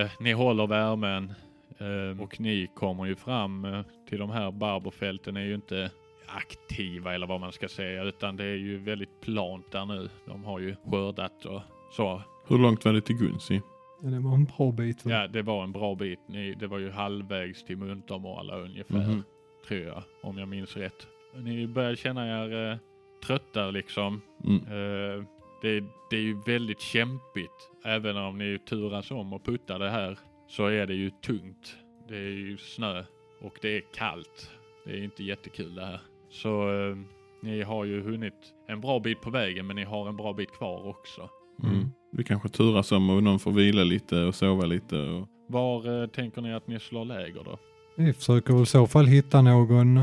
A: Eh, ni håller värmen eh, och ni kommer ju fram eh, till de här barberfälten är ju inte aktiva eller vad man ska säga utan det är ju väldigt plant där nu. De har ju skördat och så.
E: Hur långt var det till Gunsi?
D: Ja, det var en bra bit.
E: Mm.
D: va?
A: Ja, det var en bra bit. Ni, det var ju halvvägs till Muntermala ungefär,
E: Mhm.
A: tror jag, om jag minns rätt. Ni börjar känna er eh, trötta liksom.
E: Mm.
A: Eh, det, det är ju väldigt kämpigt. Även om ni turas om och puttar det här så är det ju tungt. Det är ju snö och det är kallt. Det är inte jättekul det här. Så eh, ni har ju hunnit en bra bit på vägen men ni har en bra bit kvar också.
E: Mm. Vi kanske turas om och någon får vila lite och sova lite. Och...
A: Var eh, tänker ni att ni slår läger då?
D: Vi försöker väl i så fall hitta någon,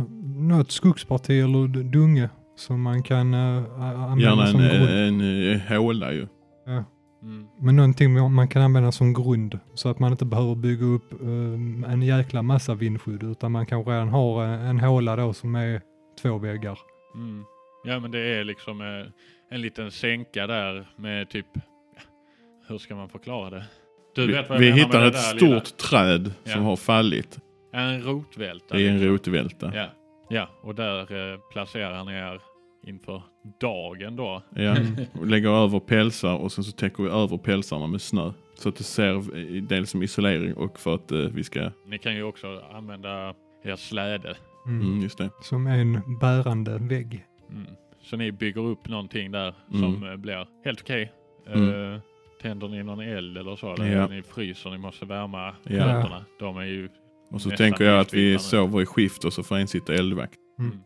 D: något skogsparti eller d- dunge som man kan eh, a- använda
E: Gärna en, eh,
D: som grund.
E: en, eh, håla ju.
A: Mm.
D: Men någonting man- man kan använda som grund så att man inte behöver bygga upp eh, en jäkla massa vindskydd utan man kanske redan har en, en håla då som är två väggar.
A: Mm. Ja men det är liksom eh, en liten sänka där med typ, ja, hur ska man förklara det? Du
E: Vi,
A: vet vad jag
E: vi
A: menar med
E: hittar
A: det
E: ett
A: där
E: stort
A: lilla.
E: träd
A: Ja.
E: som har fallit.
A: En rotvälta.
E: Det är en rotvälta.
A: Ja, ja och där eh, placerar ni er inför dagen då.
E: Ja, och lägger över pälsar och sen så täcker vi över pälsarna med snö. Så att det ser eh, dels som isolering och för att eh, vi ska,
A: Ni kan ju också använda er släde.
D: Mm.
E: mm, just det.
D: Som en bärande vägg.
A: Mm. Så ni bygger upp någonting där
E: Mm.
A: som eh, blir helt okej. Eh, Tänder ni någon eld eller så? Eller
E: Ja.
A: ni fryser, ni måste värma
E: Ja.
A: fötterna. De är ju...
E: Och så
A: Nästan
E: tänker jag att vi
A: isbitande.
E: sover i skift och så får en sitta eldvakt.
D: Mm.
A: Mm.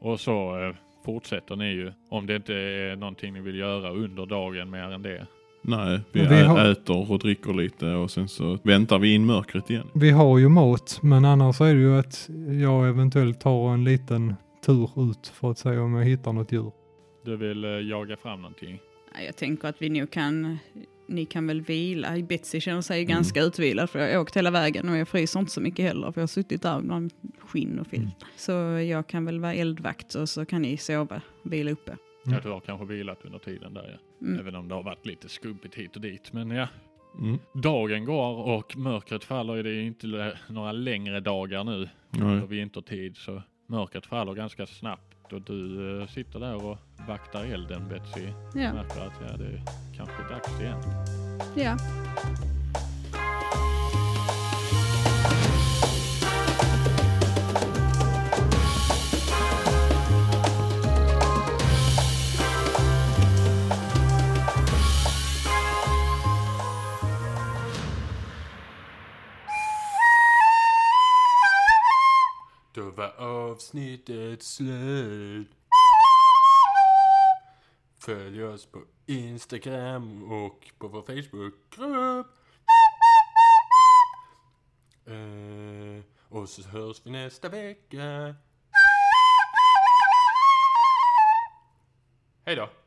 A: Och så eh, fortsätter ni ju. Om det inte är någonting ni vill göra under dagen mer än det.
E: Nej, vi,
D: Men vi
E: ä-
D: har-
E: äter och dricker lite och sen så väntar vi in mörkret igen.
D: Vi har ju mat, men annars är det ju att jag eventuellt tar en liten tur ut för att se om jag hittar något djur.
A: Du vill eh, jaga fram någonting?
C: Nej, Jag tänker att vi nog kan, ni kan väl vila. Betsy känner sig ganska utvilad för jag har åkt hela vägen och jag fryser inte så mycket heller för jag har suttit där bland skinn och filt. Så jag kan väl vara eldvakt och så kan ni sova, vila uppe.
A: Mm.
D: Mm.
A: Ja, du har kanske vilat under tiden där ja.
C: Mm.
A: Även om det har varit lite skumpigt hit och dit. Men ja,
E: Mm.
A: dagen går och mörkret faller. ju. Det är ju inte lä- några längre dagar nu.
C: Mm.
E: Nej.
A: På vintertid så mörkret faller ganska snabbt. Och du eh, sitter där och vaktar elden Betsy.
C: Ja.
A: Märker att ja, det är kanske dags igen.
C: ja.
F: Då var avsnittet slut. Följ oss på Instagram och på vår Facebookgrupp. Eh, och så hörs vi nästa vecka. Hej då!